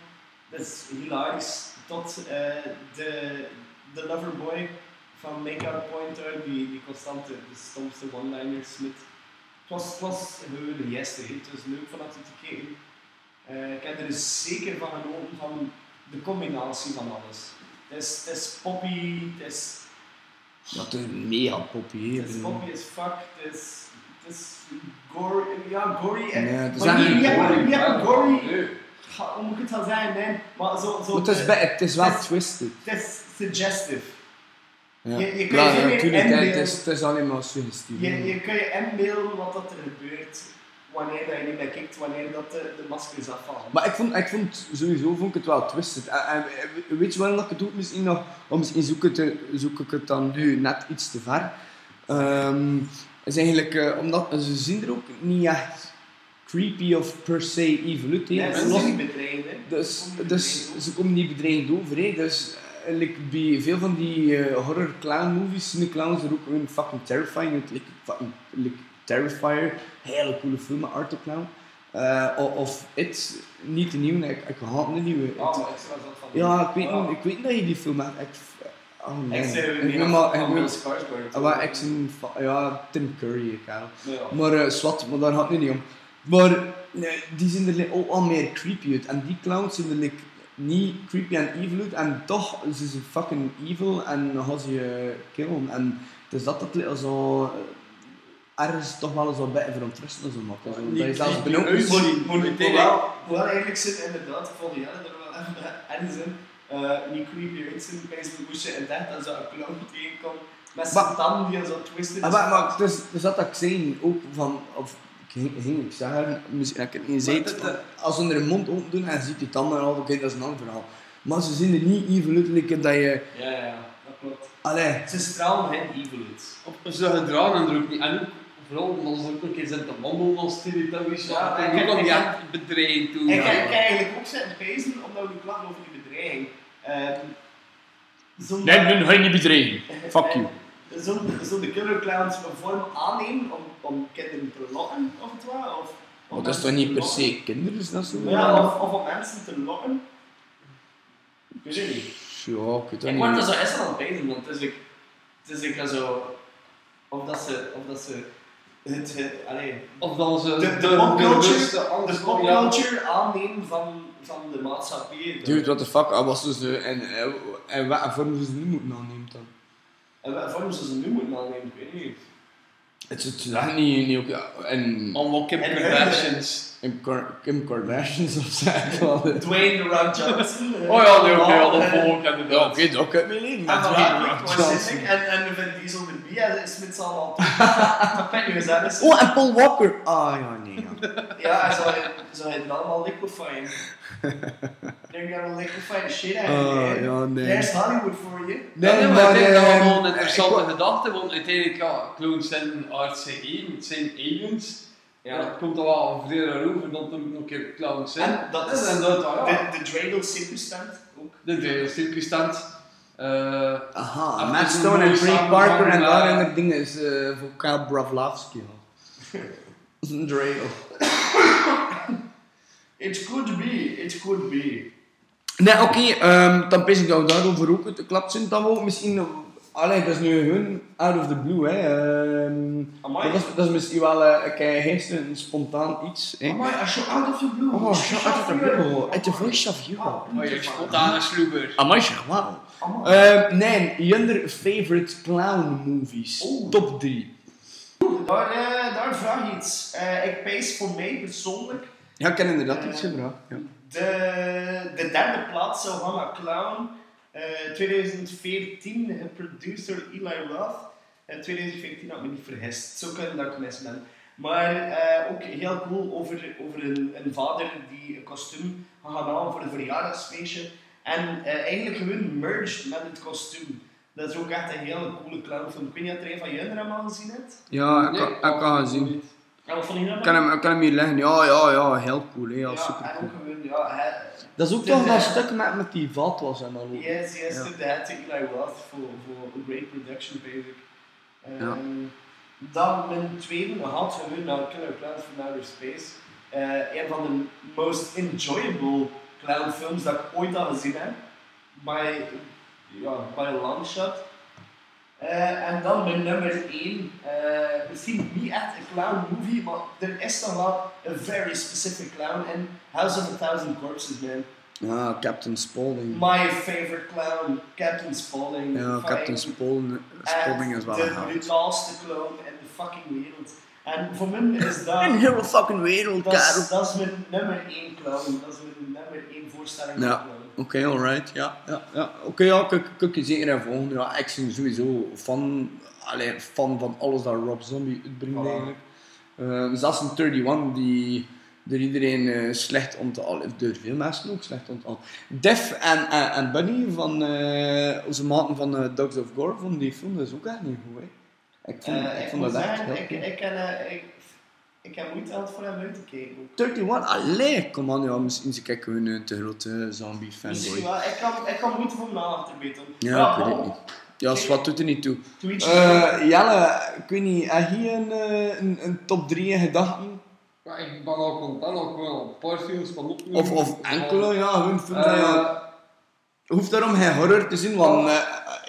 [SPEAKER 5] Dat is hilarisch. Tot eh, de, de loverboy van Make-up Pointer, die, die constante, de stomste one-liners met. Het was, het was gewoon de geste, hè. het was leuk van dat te kijken. Eh, ik heb er zeker van genoten van de combinatie van alles. Het is, het is poppy, het is,
[SPEAKER 4] Dat is mega poppy. hè.
[SPEAKER 5] het is poppy as fuck, het is, het is gory, ja, gory. en-
[SPEAKER 4] Nee, het is
[SPEAKER 5] maar
[SPEAKER 4] echt
[SPEAKER 5] niet-
[SPEAKER 4] niet
[SPEAKER 5] niet
[SPEAKER 4] gory.
[SPEAKER 5] hebben- niet hebben gory, ga- hoe moet ik het dan zeggen, nee, maar zo, zo eh,
[SPEAKER 4] Maar het is, bij- het is wel twisted.
[SPEAKER 5] het is suggestive.
[SPEAKER 4] Ja,
[SPEAKER 5] Je- je kunt
[SPEAKER 4] Ja,
[SPEAKER 5] je
[SPEAKER 4] ja,
[SPEAKER 5] meer
[SPEAKER 4] natuurlijk, hè. het
[SPEAKER 5] inbeelden.
[SPEAKER 4] is, het is alleen maar suggestief.
[SPEAKER 5] Je, je kan je inbeelden wat dat er gebeurt wanneer dat je niet meer kijkt, wanneer dat de, de maskers afvallen.
[SPEAKER 4] Maar ik vond, ik vond sowieso vond ik het wel twisted. En, en- en weet je waarom dat ik het doe? Misschien nog, om misschien zoek, het, eh, zoek ik het dan nu net iets te ver. Ehm, is eigenlijk, eh, omdat ze zien er ook niet echt creepy of per se evil uit. hè.
[SPEAKER 5] Nee,
[SPEAKER 4] En
[SPEAKER 5] ze
[SPEAKER 4] los-
[SPEAKER 5] zijn niet bedreigd, hè.
[SPEAKER 4] dus,
[SPEAKER 5] Ze komen niet
[SPEAKER 4] dus
[SPEAKER 5] bedreigd
[SPEAKER 4] ze komen niet bedreigend over. Hè. Dus eh, like, bij veel van die eh, horror clown movies zien de clowns er ook een fucking terrifying uit. Like, fucking, like, Terrifier, hele coole film met Arthur Clown. Eh, o- of It, niet de nieuwe, ik, ik haat de nieuwe. It.
[SPEAKER 5] over. Ah, maar ik zou dat van-
[SPEAKER 4] ja, ik weet,
[SPEAKER 5] Ah.
[SPEAKER 4] niet, ik weet niet dat je die film hebt. Ik, oh nee.
[SPEAKER 5] Ik zei
[SPEAKER 4] Ik
[SPEAKER 5] weer
[SPEAKER 4] weet
[SPEAKER 5] niet Oh,
[SPEAKER 4] maar-
[SPEAKER 5] van
[SPEAKER 4] ik
[SPEAKER 5] Bill
[SPEAKER 4] weet-
[SPEAKER 5] Skarsgård.
[SPEAKER 4] ah, maar ik zie, fa- ja, Tim Curry, ik haal.
[SPEAKER 5] Ja.
[SPEAKER 4] Maar eh, zwart, maar daar gaat het nu niet om. Maar nee, die zien er like, ook al meer creepy uit. En die clowns zien er like, niet creepy en evil uit. En toch, ze zijn fucking evil en dan gaan ze je killen. En het is dat dat like, zo... eh, Ergens toch wel eens wat beter verontrustend zo maakt. en zo. Dat je zelfs benauwd
[SPEAKER 5] Dus
[SPEAKER 6] uit-
[SPEAKER 4] wordt.
[SPEAKER 6] Moet- moet niet tegen.
[SPEAKER 5] Hoewel, hoewel eigenlijk zit inderdaad volgens Jelle er wel even ergens in. eh, niet creepy uit zijn bij zijn moesje en dat dan zo een clown tegenkomt met zijn
[SPEAKER 4] Maar-
[SPEAKER 5] tanden die zo twisted
[SPEAKER 4] Ah, maar, maar dus, dus dat dat ik zei, ook van... Of, ik ging- ging ik zeggen, misschien heb ik het niet gezegd.
[SPEAKER 6] dat- dat-
[SPEAKER 4] Als ze er hun mond open doen en ziet die tanden en al, oké, dat is een ander verhaal. Maar ze zien er niet evil uit, like, dat je...
[SPEAKER 5] Ja, ja, ja, dat klopt.
[SPEAKER 4] Allee,
[SPEAKER 5] Ze stralen hen evil uit.
[SPEAKER 6] Ze gedragen en er ook niet. En ook, vooral omdat ze ook een keer zijn te wandelen als Teletubbies.
[SPEAKER 5] Ja,
[SPEAKER 6] Ja,
[SPEAKER 5] ik-
[SPEAKER 6] en ook al
[SPEAKER 5] ik-
[SPEAKER 6] die echt bedreigend toe.
[SPEAKER 5] Ik heb ik heb eigenlijk ook zitten pezen omdat we nu klachten over die bedreiging. Ehm, zo'n- Eh,
[SPEAKER 7] ga je niet bedreigen. Fuck you.
[SPEAKER 5] Zo'n zo de killer clowns een vorm aannemen om, om kinderen te lokken, of het waar? Of, om
[SPEAKER 4] Maar Oh, dat is
[SPEAKER 5] mensen
[SPEAKER 4] toch
[SPEAKER 5] te
[SPEAKER 4] niet per
[SPEAKER 5] lokken?
[SPEAKER 4] se kinderen, is dat zo?
[SPEAKER 5] Ja, of, of om mensen te lokken. Ik weet het niet.
[SPEAKER 4] Ja, ik weet dat
[SPEAKER 5] Ik
[SPEAKER 4] niet.
[SPEAKER 5] word er zo eens aan het pezen, want het is ik, het is ik zo... Of dat ze, of dat ze het, het, allee,
[SPEAKER 6] Of dan ze
[SPEAKER 5] de, de, popculture, de popculture aannemen van, van de maatschappij. dan.
[SPEAKER 4] Dude, what the fuck, hij was dus de, en, en, en wat en vorm ze nu moeten aannemen dan?
[SPEAKER 5] En wat vorm ze ze nu moeten aannemen, ik weet niet.
[SPEAKER 4] Het is echt niet, niet ook, ja, en
[SPEAKER 6] Allemaal Kim
[SPEAKER 5] En- [LAUGHS]
[SPEAKER 6] Kardashians.
[SPEAKER 4] Kim, Kar- Kim Kardashians of zo. ik wel, eh.
[SPEAKER 5] Dwayne The Rock Johnson. eh,
[SPEAKER 6] Oh ja, nee, oké, ja, dat
[SPEAKER 5] eh, [LAUGHS]
[SPEAKER 6] volg ik
[SPEAKER 4] Ja, Oké,
[SPEAKER 6] inderdaad.
[SPEAKER 4] dat kan ik me niet.
[SPEAKER 5] En
[SPEAKER 4] Maar
[SPEAKER 5] van
[SPEAKER 4] Dwayne
[SPEAKER 5] Hardwick,
[SPEAKER 4] Rock
[SPEAKER 5] Johnson.
[SPEAKER 4] Johnson.
[SPEAKER 5] En, en Vin Diesel met Bia, en Smith zal al. Dat [LAUGHS] pet nu eens
[SPEAKER 4] Oh, en Paul Walker. Ah ja, nee. Ja. [LAUGHS]
[SPEAKER 5] Ja, en zou hij- zou hij het allemaal liquefyen. They're gonna liquefy the shit out of you.
[SPEAKER 4] Ah,
[SPEAKER 5] man.
[SPEAKER 4] ja, nee.
[SPEAKER 5] There's Hollywood for you.
[SPEAKER 6] Nee, nee, maar ik vind dat
[SPEAKER 4] eh,
[SPEAKER 6] wel gewoon een interessante
[SPEAKER 4] ik-
[SPEAKER 6] gedachte, want uiteindelijk, ja, clones zijn RCE, het zijn aliens. Ja. dat komt al wel vrij over dan het nog een keer clowns zijn.
[SPEAKER 5] En dat is-
[SPEAKER 6] en dat, ja.
[SPEAKER 5] De, de Dreidel circumstant ook.
[SPEAKER 6] De derde circumstant. eh
[SPEAKER 4] Aha,
[SPEAKER 6] Af en
[SPEAKER 4] Matt
[SPEAKER 6] toe
[SPEAKER 4] Stone
[SPEAKER 6] een
[SPEAKER 4] en
[SPEAKER 6] mooie
[SPEAKER 4] Trey Parker en
[SPEAKER 6] samenhang,
[SPEAKER 4] daar
[SPEAKER 6] eh.
[SPEAKER 4] en dat ding is eh, voor Kyle Bravlavski. [LAUGHS] Dreidel.
[SPEAKER 5] It could be, it could be.
[SPEAKER 4] Nee, oké, ehm, dan pis ik jou daarover ook uit de klap zijn. Dan ook misschien... eh, Allee, dat is nu hun out of the blue, hè. ehm.
[SPEAKER 5] Amai.
[SPEAKER 4] dat, is, dat is misschien wel eh, een keer gisteren een spontaan iets, hè.
[SPEAKER 5] Amai, als je out of the blue.
[SPEAKER 4] Oh, shut out of the blue. At the voice of you.
[SPEAKER 5] Oh,
[SPEAKER 6] maar je spontane sloeber.
[SPEAKER 4] Amai, zeg wel.
[SPEAKER 5] Amai.
[SPEAKER 4] Ehm, nee, your favorite clown movies.
[SPEAKER 5] Oeh.
[SPEAKER 4] Top 3.
[SPEAKER 5] Daar, eh, daar vraag je iets. Eh, ik pees voor mij persoonlijk.
[SPEAKER 4] Ja, ik heb inderdaad iets
[SPEAKER 5] Eh.
[SPEAKER 4] gevraagd. Ja.
[SPEAKER 5] De, de derde plaats zou gaan naar Clown. Eh, 2014, eh, producer Eli Roth. En 2014 had ik me niet vergist. Zo kunnen dat ik mis ben. Maar eh, ook heel cool over, over een, een vader die een kostuum gaat halen voor een verjaardagsfeestje. En eh, eigenlijk gewoon merged met het kostuum. Dat is ook echt een hele coole clownfilm. Ik weet niet of jij van Jender hem al gezien hebt.
[SPEAKER 4] Ja, ik
[SPEAKER 6] Nee,
[SPEAKER 4] kan,
[SPEAKER 5] oh.
[SPEAKER 4] ik kan het zien.
[SPEAKER 5] Ja, wat vond je
[SPEAKER 4] Ik
[SPEAKER 5] daarvan?
[SPEAKER 4] kan hem, ik kan hem hier leggen. Ja, ja, ja, heel cool. Hè. Ja,
[SPEAKER 5] Ja,
[SPEAKER 4] super
[SPEAKER 5] en
[SPEAKER 4] cool.
[SPEAKER 5] ook gewoon, ja, hè,
[SPEAKER 4] Dat is ook
[SPEAKER 5] [LAUGHS] toch
[SPEAKER 4] toch
[SPEAKER 5] dat
[SPEAKER 4] dat stuk met, met die vatwas en al.
[SPEAKER 5] Yes, yes,
[SPEAKER 4] Ja.
[SPEAKER 5] to that, to Eli Roth voor, voor een great production, basic. Ehm
[SPEAKER 4] Ja.
[SPEAKER 5] Dan mijn tweede had we nu nou, naar Killer Clown from Outer Space. Eh, een van de most enjoyable clownfilms dat ik ooit al gezien heb. By, ja, by a long shot. Eh, en dan mijn nummer 1. misschien niet echt een clown movie, maar er is dan wel een very specific clown in House of a Thousand Corpses, man.
[SPEAKER 4] Ja, Captain Spaulding.
[SPEAKER 5] My favorite clown, Captain Spaulding.
[SPEAKER 4] ja,
[SPEAKER 5] Fucking-
[SPEAKER 4] Captain Spaulding, Spaulding is wel
[SPEAKER 5] De
[SPEAKER 4] een held.
[SPEAKER 5] brutalste clown in de fucking wereld. En voor mij
[SPEAKER 4] [LAUGHS]
[SPEAKER 5] is dat...
[SPEAKER 4] Een hele fucking wereld,
[SPEAKER 5] dat, is,
[SPEAKER 4] Karel.
[SPEAKER 5] dat is mijn nummer 1 clown. Dat is mijn nummer 1 voorstelling van
[SPEAKER 4] Ja,
[SPEAKER 5] clown.
[SPEAKER 4] oké, alright. Ja, ja, ja. Oké, ja, kijk, kijk je zeker en volgende. Ja, ik ben sowieso fan, allee, fan van alles dat Rob Zombie uitbrengt
[SPEAKER 5] Voilà.
[SPEAKER 4] eigenlijk. Eh, zelfs een 31 die door iedereen eh, slecht onthalen, of door veel mensen ook slecht onthalen. Def en, en, en Bunny van eh, onze maten van eh, Dogs of Gore vonden die film dus ook echt niet goed. Hè. Ik vond,
[SPEAKER 5] Eh,
[SPEAKER 4] ik
[SPEAKER 5] ik
[SPEAKER 4] vond
[SPEAKER 5] moet
[SPEAKER 4] dat echt
[SPEAKER 5] zeggen,
[SPEAKER 4] heel
[SPEAKER 5] ik,
[SPEAKER 4] goed.
[SPEAKER 5] ik, ken, eh, ik, ik heb moeite gehad voor hem uit te kijken.
[SPEAKER 4] 31, allee, kom aan, ja, misschien ze kijken hun een te grote zombie fanboy.
[SPEAKER 5] Misschien wel. Ik kan, ik kan moeite voor mijn aandacht erbeten.
[SPEAKER 4] Ja, ik weet het niet. Ja, wat doet er niet toe.
[SPEAKER 5] Twitch.
[SPEAKER 4] Eh, Jelle, ik weet niet, heb je een, eh, een, een top 3 in gedachten?
[SPEAKER 6] Maar ik ben al content, ook wel een paar films van opnemen.
[SPEAKER 4] Of, of enkele, ja, hun films.
[SPEAKER 6] Eh,
[SPEAKER 4] ja. Je hoeft daarom geen horror te zien, want eh,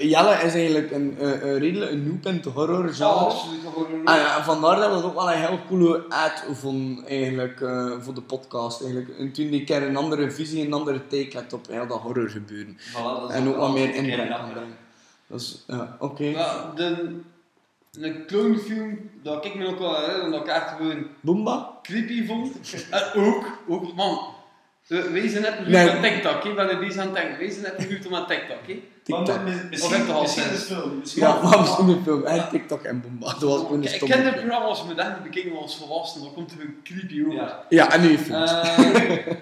[SPEAKER 4] Jelle is eigenlijk een, eh, een redelijk een noob in het horror
[SPEAKER 6] ja,
[SPEAKER 4] genre.
[SPEAKER 6] absoluut nog een
[SPEAKER 4] En eh, vandaar dat het ook wel een heel coole ad vond, eigenlijk, eh, voor de podcast. Eigenlijk. En toen ik een andere visie, een andere take had op heel dat horror gebeuren. En ook wat meer inbreng kan brengen. Dus, ja, oké.
[SPEAKER 6] Ja, de, een clownfilm dat ik me ook wel herinner, dat ik echt gewoon
[SPEAKER 4] Boomba?
[SPEAKER 6] creepy vond. En ook, ook, man. we- Wees een app
[SPEAKER 4] Nee.
[SPEAKER 6] nee. aan TikTok, ik ben er bezig aan het denken. Wees een app goed om aan TikTok, hè.
[SPEAKER 4] TikTok.
[SPEAKER 6] heb je
[SPEAKER 5] Misschien,
[SPEAKER 6] al
[SPEAKER 5] misschien de
[SPEAKER 6] sinds?
[SPEAKER 5] film. Misschien
[SPEAKER 4] Ja, [LAUGHS]
[SPEAKER 5] de
[SPEAKER 4] maar
[SPEAKER 5] film.
[SPEAKER 4] misschien een film. En TikTok en Boomba. Dat was gewoon een
[SPEAKER 6] Ik- Ik
[SPEAKER 4] stomme
[SPEAKER 6] ken de
[SPEAKER 4] film.
[SPEAKER 6] programma's met echt bekeken als volwassenen, dat komt er een creepy over.
[SPEAKER 5] Ja.
[SPEAKER 4] Ja, en nu je film. [LAUGHS]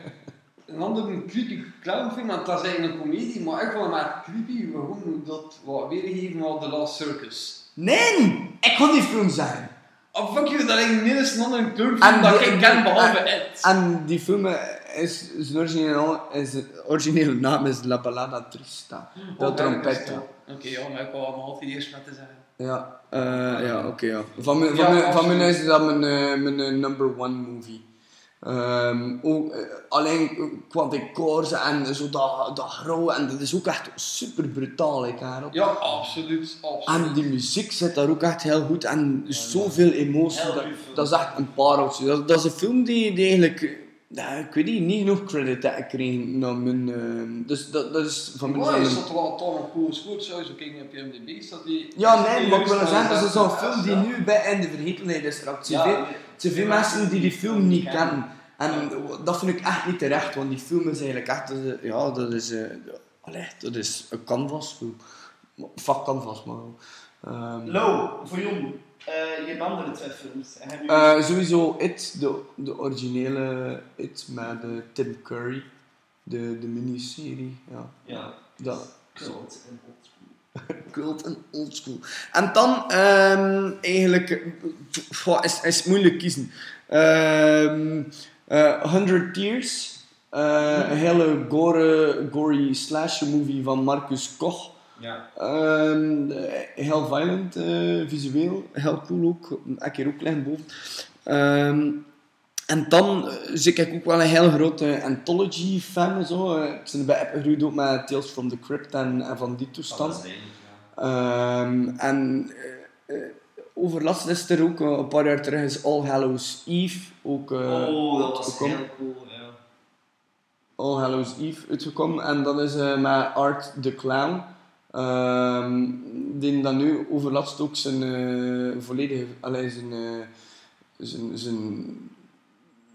[SPEAKER 6] Eh, een andere creepy clownfilm, want dat is eigenlijk een comedie, maar ik vond hem echt creepy, gewoon dat wat weergeven van The Last Circus.
[SPEAKER 4] Nee! Ik kon die film zijn.
[SPEAKER 6] Oh fuck you, dat lijkt minstens een andere
[SPEAKER 4] En
[SPEAKER 6] clownfilm dat
[SPEAKER 4] die-
[SPEAKER 6] ik ken, behalve
[SPEAKER 4] en-
[SPEAKER 6] Ed.
[SPEAKER 4] En die film eh, is, zijn originele, is, originele naam is La Ballada Trista. De
[SPEAKER 6] Oh,
[SPEAKER 4] trompetto.
[SPEAKER 6] Oké, ja, maar ik wil allemaal altijd eerst met te zeggen.
[SPEAKER 4] Ja, eh, ja oké. ja. Van, mijn- van,
[SPEAKER 6] Ja,
[SPEAKER 4] mijn- van mijn
[SPEAKER 6] absoluut.
[SPEAKER 4] is dat mijn, eh, mijn eh, number one movie. Ehm, ook, eh, alleen qua decors en zo dat, dat grauw. En dat is ook echt super brutaal, hè, Karel.
[SPEAKER 6] Ja, absoluut. absoluut.
[SPEAKER 4] En die muziek zit daar ook echt heel goed en zoveel emotie.
[SPEAKER 5] Heel
[SPEAKER 4] Dat,
[SPEAKER 5] goed film.
[SPEAKER 4] dat is echt een pareltje. Dat, dat is een film die, die eigenlijk, eh, ja, ik weet niet, niet genoeg credit heeft gekregen. naar mijn, eh, dus dat, dat is van mijn
[SPEAKER 6] Mooi, er
[SPEAKER 4] zin.
[SPEAKER 6] staat er Oh, wel een ton op coole scores, sowieso kijken op IMDb, staat die...
[SPEAKER 4] Ja, nee, maar ik wil
[SPEAKER 6] Ja,
[SPEAKER 4] zeggen, dat is zo'n
[SPEAKER 6] ja,
[SPEAKER 4] film die
[SPEAKER 6] ja.
[SPEAKER 4] nu bij in de vergetelheid is geraakt.
[SPEAKER 6] Ja,
[SPEAKER 4] Zoveel,
[SPEAKER 6] nee.
[SPEAKER 4] zoveel mensen die die film niet kennen. En dat vind ik echt niet terecht, want die film is eigenlijk echt, dat is, eh, ja, dat is, eh, allee, dat is een canvasfilm. Fuck canvas, maar... ehm,
[SPEAKER 5] Lo, voor jong. eh, je hebt andere twee films. Hebben jullie-
[SPEAKER 4] Eh, sowieso It, de, de originele It met eh, Tim Curry, de, de miniserie. Ja.
[SPEAKER 5] ja,
[SPEAKER 4] Dat,
[SPEAKER 5] klopt. En old school.
[SPEAKER 4] cult en oldschool. En dan ehm, eigenlijk, eh, goh, is, is moeilijk kiezen. Ehm eh, 100 Tears, eh, een hele gore, gory slasher movie van Marcus Koch.
[SPEAKER 5] Ja.
[SPEAKER 4] Ehm, heel violent, eh, visueel, heel cool ook. Ik hier ook klein boven. Ehm, en dan eh, zit ik ook wel een heel grote anthology fan. en Zo. Eh, Ik ben opgegroeid ook met Tales from the Crypt en, en van die toestand. Ehm, en eh, eh, overlast is er ook eh, een paar jaar terug is All Hallows Eve. Ook, eh,
[SPEAKER 5] oh, dat was
[SPEAKER 4] uitgekomen.
[SPEAKER 5] heel cool. Ja.
[SPEAKER 4] All Hallows Eve uitgekomen. En dat is eh, met Art the Clown. Ehm, die dan nu overlast ook zijn eh, volledige... Allee, zijn, eh, zijn, zijn,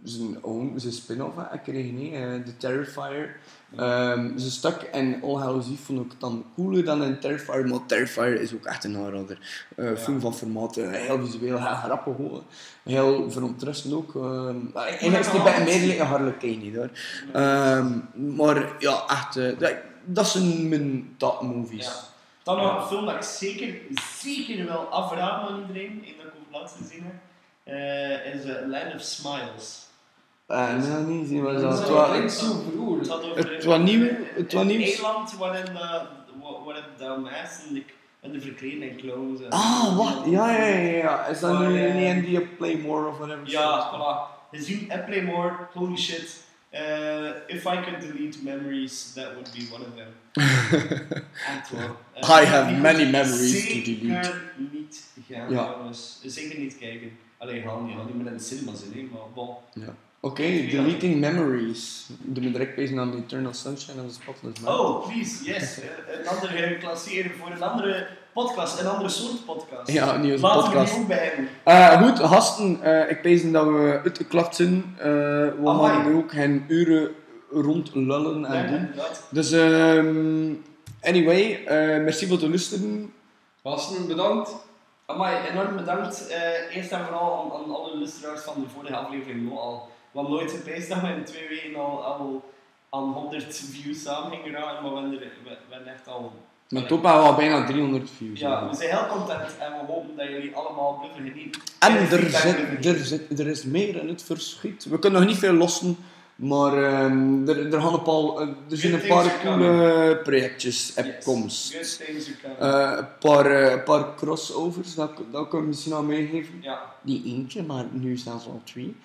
[SPEAKER 4] zijn own, zijn spin-off hè, kreeg niet, eh, The Terrifier. Ehm, ze stak en All Hallows Eve vond ik dan cooler dan in Terrifier, maar Terrifier is ook echt een aanrader. Eh Film van formaat, eh, heel visueel, heel grappig, hoor. heel verontrustend ook. ehm en is die bij mij een harlekijn niet hoor. Ehm, maar ja, echt, eh, dat, dat zijn mijn top movies.
[SPEAKER 5] Ja. Dan nog een film dat ik zeker, zeker wel afraad aan iedereen, in dat ik over langs gezien heb, eh, is eh, Land of Smiles.
[SPEAKER 4] Eh, nee, niet zien, maar
[SPEAKER 6] Dat
[SPEAKER 4] dat
[SPEAKER 6] is
[SPEAKER 4] het
[SPEAKER 6] wel
[SPEAKER 4] wa-
[SPEAKER 6] klinkt zo vroer.
[SPEAKER 5] Het, had over
[SPEAKER 4] Het was nieuw- het was
[SPEAKER 5] een
[SPEAKER 4] nieuws.
[SPEAKER 5] Nederland waarin, eh, wa- waarin de mensen de- en de verkleding clowns en
[SPEAKER 4] Ah, wat? Ja, ja, ja, ja. Is dat
[SPEAKER 5] Maar,
[SPEAKER 4] nu
[SPEAKER 5] eh,
[SPEAKER 4] niet in die Play More of whatever?
[SPEAKER 5] Ja, voilà. Is you play more? Holy shit. Eh, if I could delete memories, that would be one of
[SPEAKER 4] [LAUGHS]
[SPEAKER 5] them. Echt waar. Eh,
[SPEAKER 4] I have
[SPEAKER 5] die
[SPEAKER 4] many
[SPEAKER 5] moet
[SPEAKER 4] memories to delete.
[SPEAKER 5] Zeker niet gaan,
[SPEAKER 4] Ja.
[SPEAKER 5] jongens. Zeker niet kijken. Alleen Han, ja, niet meer in de cinema zit, hè, maar bon.
[SPEAKER 4] Oké, deleting memories. Doe me direct bezig aan Eternal Sunshine of the Spotless Mind.
[SPEAKER 5] Oh, please, yes. Eh, Een andere klasseren voor een andere podcast, een andere soort podcast.
[SPEAKER 4] Ja, een nieuwe
[SPEAKER 5] Laten
[SPEAKER 4] podcast.
[SPEAKER 5] we die ook bij
[SPEAKER 4] Eh,
[SPEAKER 5] hebben.
[SPEAKER 4] goed, gasten, eh, ik pees dat we uitgeklapt zijn. Eh, we
[SPEAKER 5] Amai.
[SPEAKER 4] gaan nu ook geen uren rond lullen en
[SPEAKER 5] Ja,
[SPEAKER 4] doen.
[SPEAKER 5] inderdaad.
[SPEAKER 4] Dus, ehm, anyway, eh, merci voor het luisteren.
[SPEAKER 6] Gasten, bedankt.
[SPEAKER 5] Amai, enorm bedankt. eh, eerst en vooral aan, aan alle luisteraars van de vorige aflevering wel al. Want nooit gepijst dat we in twee weken al, al aan 100 views samen gingen raken, maar we hebben er- we we hebben echt al...
[SPEAKER 4] Mijn top had al bijna 300 views.
[SPEAKER 5] Ja, we zijn heel content en we hopen dat jullie allemaal blijven genieten.
[SPEAKER 4] En er,
[SPEAKER 5] Jullie feedback blijven
[SPEAKER 4] zit,
[SPEAKER 5] genieten.
[SPEAKER 4] er, zit, er is meer in het verschiet. We kunnen nog niet veel lossen, maar ehm, er, er, gaan een paar, eh, er zijn een
[SPEAKER 5] Good
[SPEAKER 4] paar
[SPEAKER 5] things are
[SPEAKER 4] coole projectjes op
[SPEAKER 5] Yes.
[SPEAKER 4] komst.
[SPEAKER 5] Good things are coming.
[SPEAKER 4] Eh, een paar, eh, een paar crossovers, dat, dat kan ik misschien al meegeven.
[SPEAKER 5] ja,
[SPEAKER 4] Niet eentje, maar nu zelfs al twee.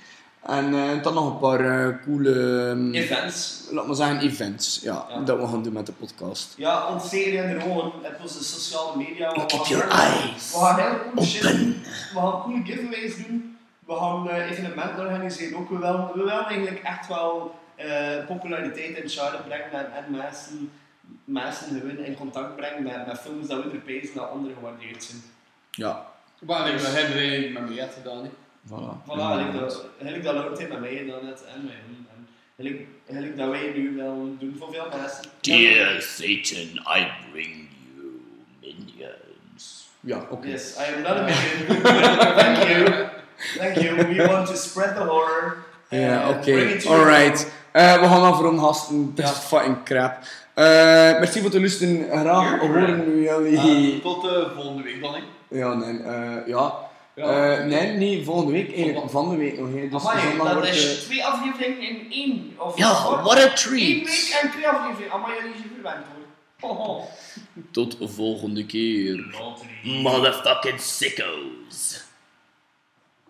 [SPEAKER 4] En eh, dan nog een paar eh, coole, ehm,
[SPEAKER 5] events.
[SPEAKER 4] laat maar zeggen, events. Ja,
[SPEAKER 5] Ja.
[SPEAKER 4] dat we gaan doen met de podcast.
[SPEAKER 5] Ja, ontzettend en gewoon op onze sociale media. We
[SPEAKER 4] Keep
[SPEAKER 5] gaan-
[SPEAKER 4] your eyes
[SPEAKER 5] We gaan heel cool shit doen. We gaan coole giveaways doen. We gaan eh, evenementen organiseren ook. We willen, we willen eigenlijk echt wel eh, populariteit in Charlotte brengen en, en mensen, mensen gewoon in contact brengen met, met films dat we er pezen dat anderen gewaardeerd zijn.
[SPEAKER 4] Ja,
[SPEAKER 6] Maar ik heb er met biljet gedaan. hè.
[SPEAKER 4] voilà.
[SPEAKER 5] Voilà, eigenlijk dat, eigenlijk dat Laurent met mij dan net en mij. En eigenlijk, eigenlijk dat wij nu wel doen voor veel mensen.
[SPEAKER 9] Dear Satan, I bring you minions.
[SPEAKER 4] Ja, oké.
[SPEAKER 5] Yes, I am not a minion. Thank you. Thank you. We want to spread the horror.
[SPEAKER 4] Ja,
[SPEAKER 5] Uh, bring
[SPEAKER 4] oké.
[SPEAKER 5] it to
[SPEAKER 4] Alright.
[SPEAKER 5] the-
[SPEAKER 4] Eh, we gaan afronden, gasten. Dat is fucking crap. Eh, merci voor het luisteren. Graag horen we
[SPEAKER 6] Eh,
[SPEAKER 4] jullie.
[SPEAKER 6] Tot eh, volgende week dan. hè.
[SPEAKER 4] Ja, nee. eh, ja.
[SPEAKER 6] Ja.
[SPEAKER 4] Eh, nee, niet volgende week. Eigenlijk van de week nog. hè. Dus
[SPEAKER 5] Amai,
[SPEAKER 4] zondag
[SPEAKER 5] dat
[SPEAKER 4] wordt,
[SPEAKER 5] is
[SPEAKER 4] eh,
[SPEAKER 5] twee afleveringen in één. Of
[SPEAKER 9] Ja, what a
[SPEAKER 5] Eén
[SPEAKER 9] treat!
[SPEAKER 5] week en twee afleveringen. Amai, jullie zijn verwend hoor. Hoho.
[SPEAKER 9] Tot volgende keer. Motherfucking sickos.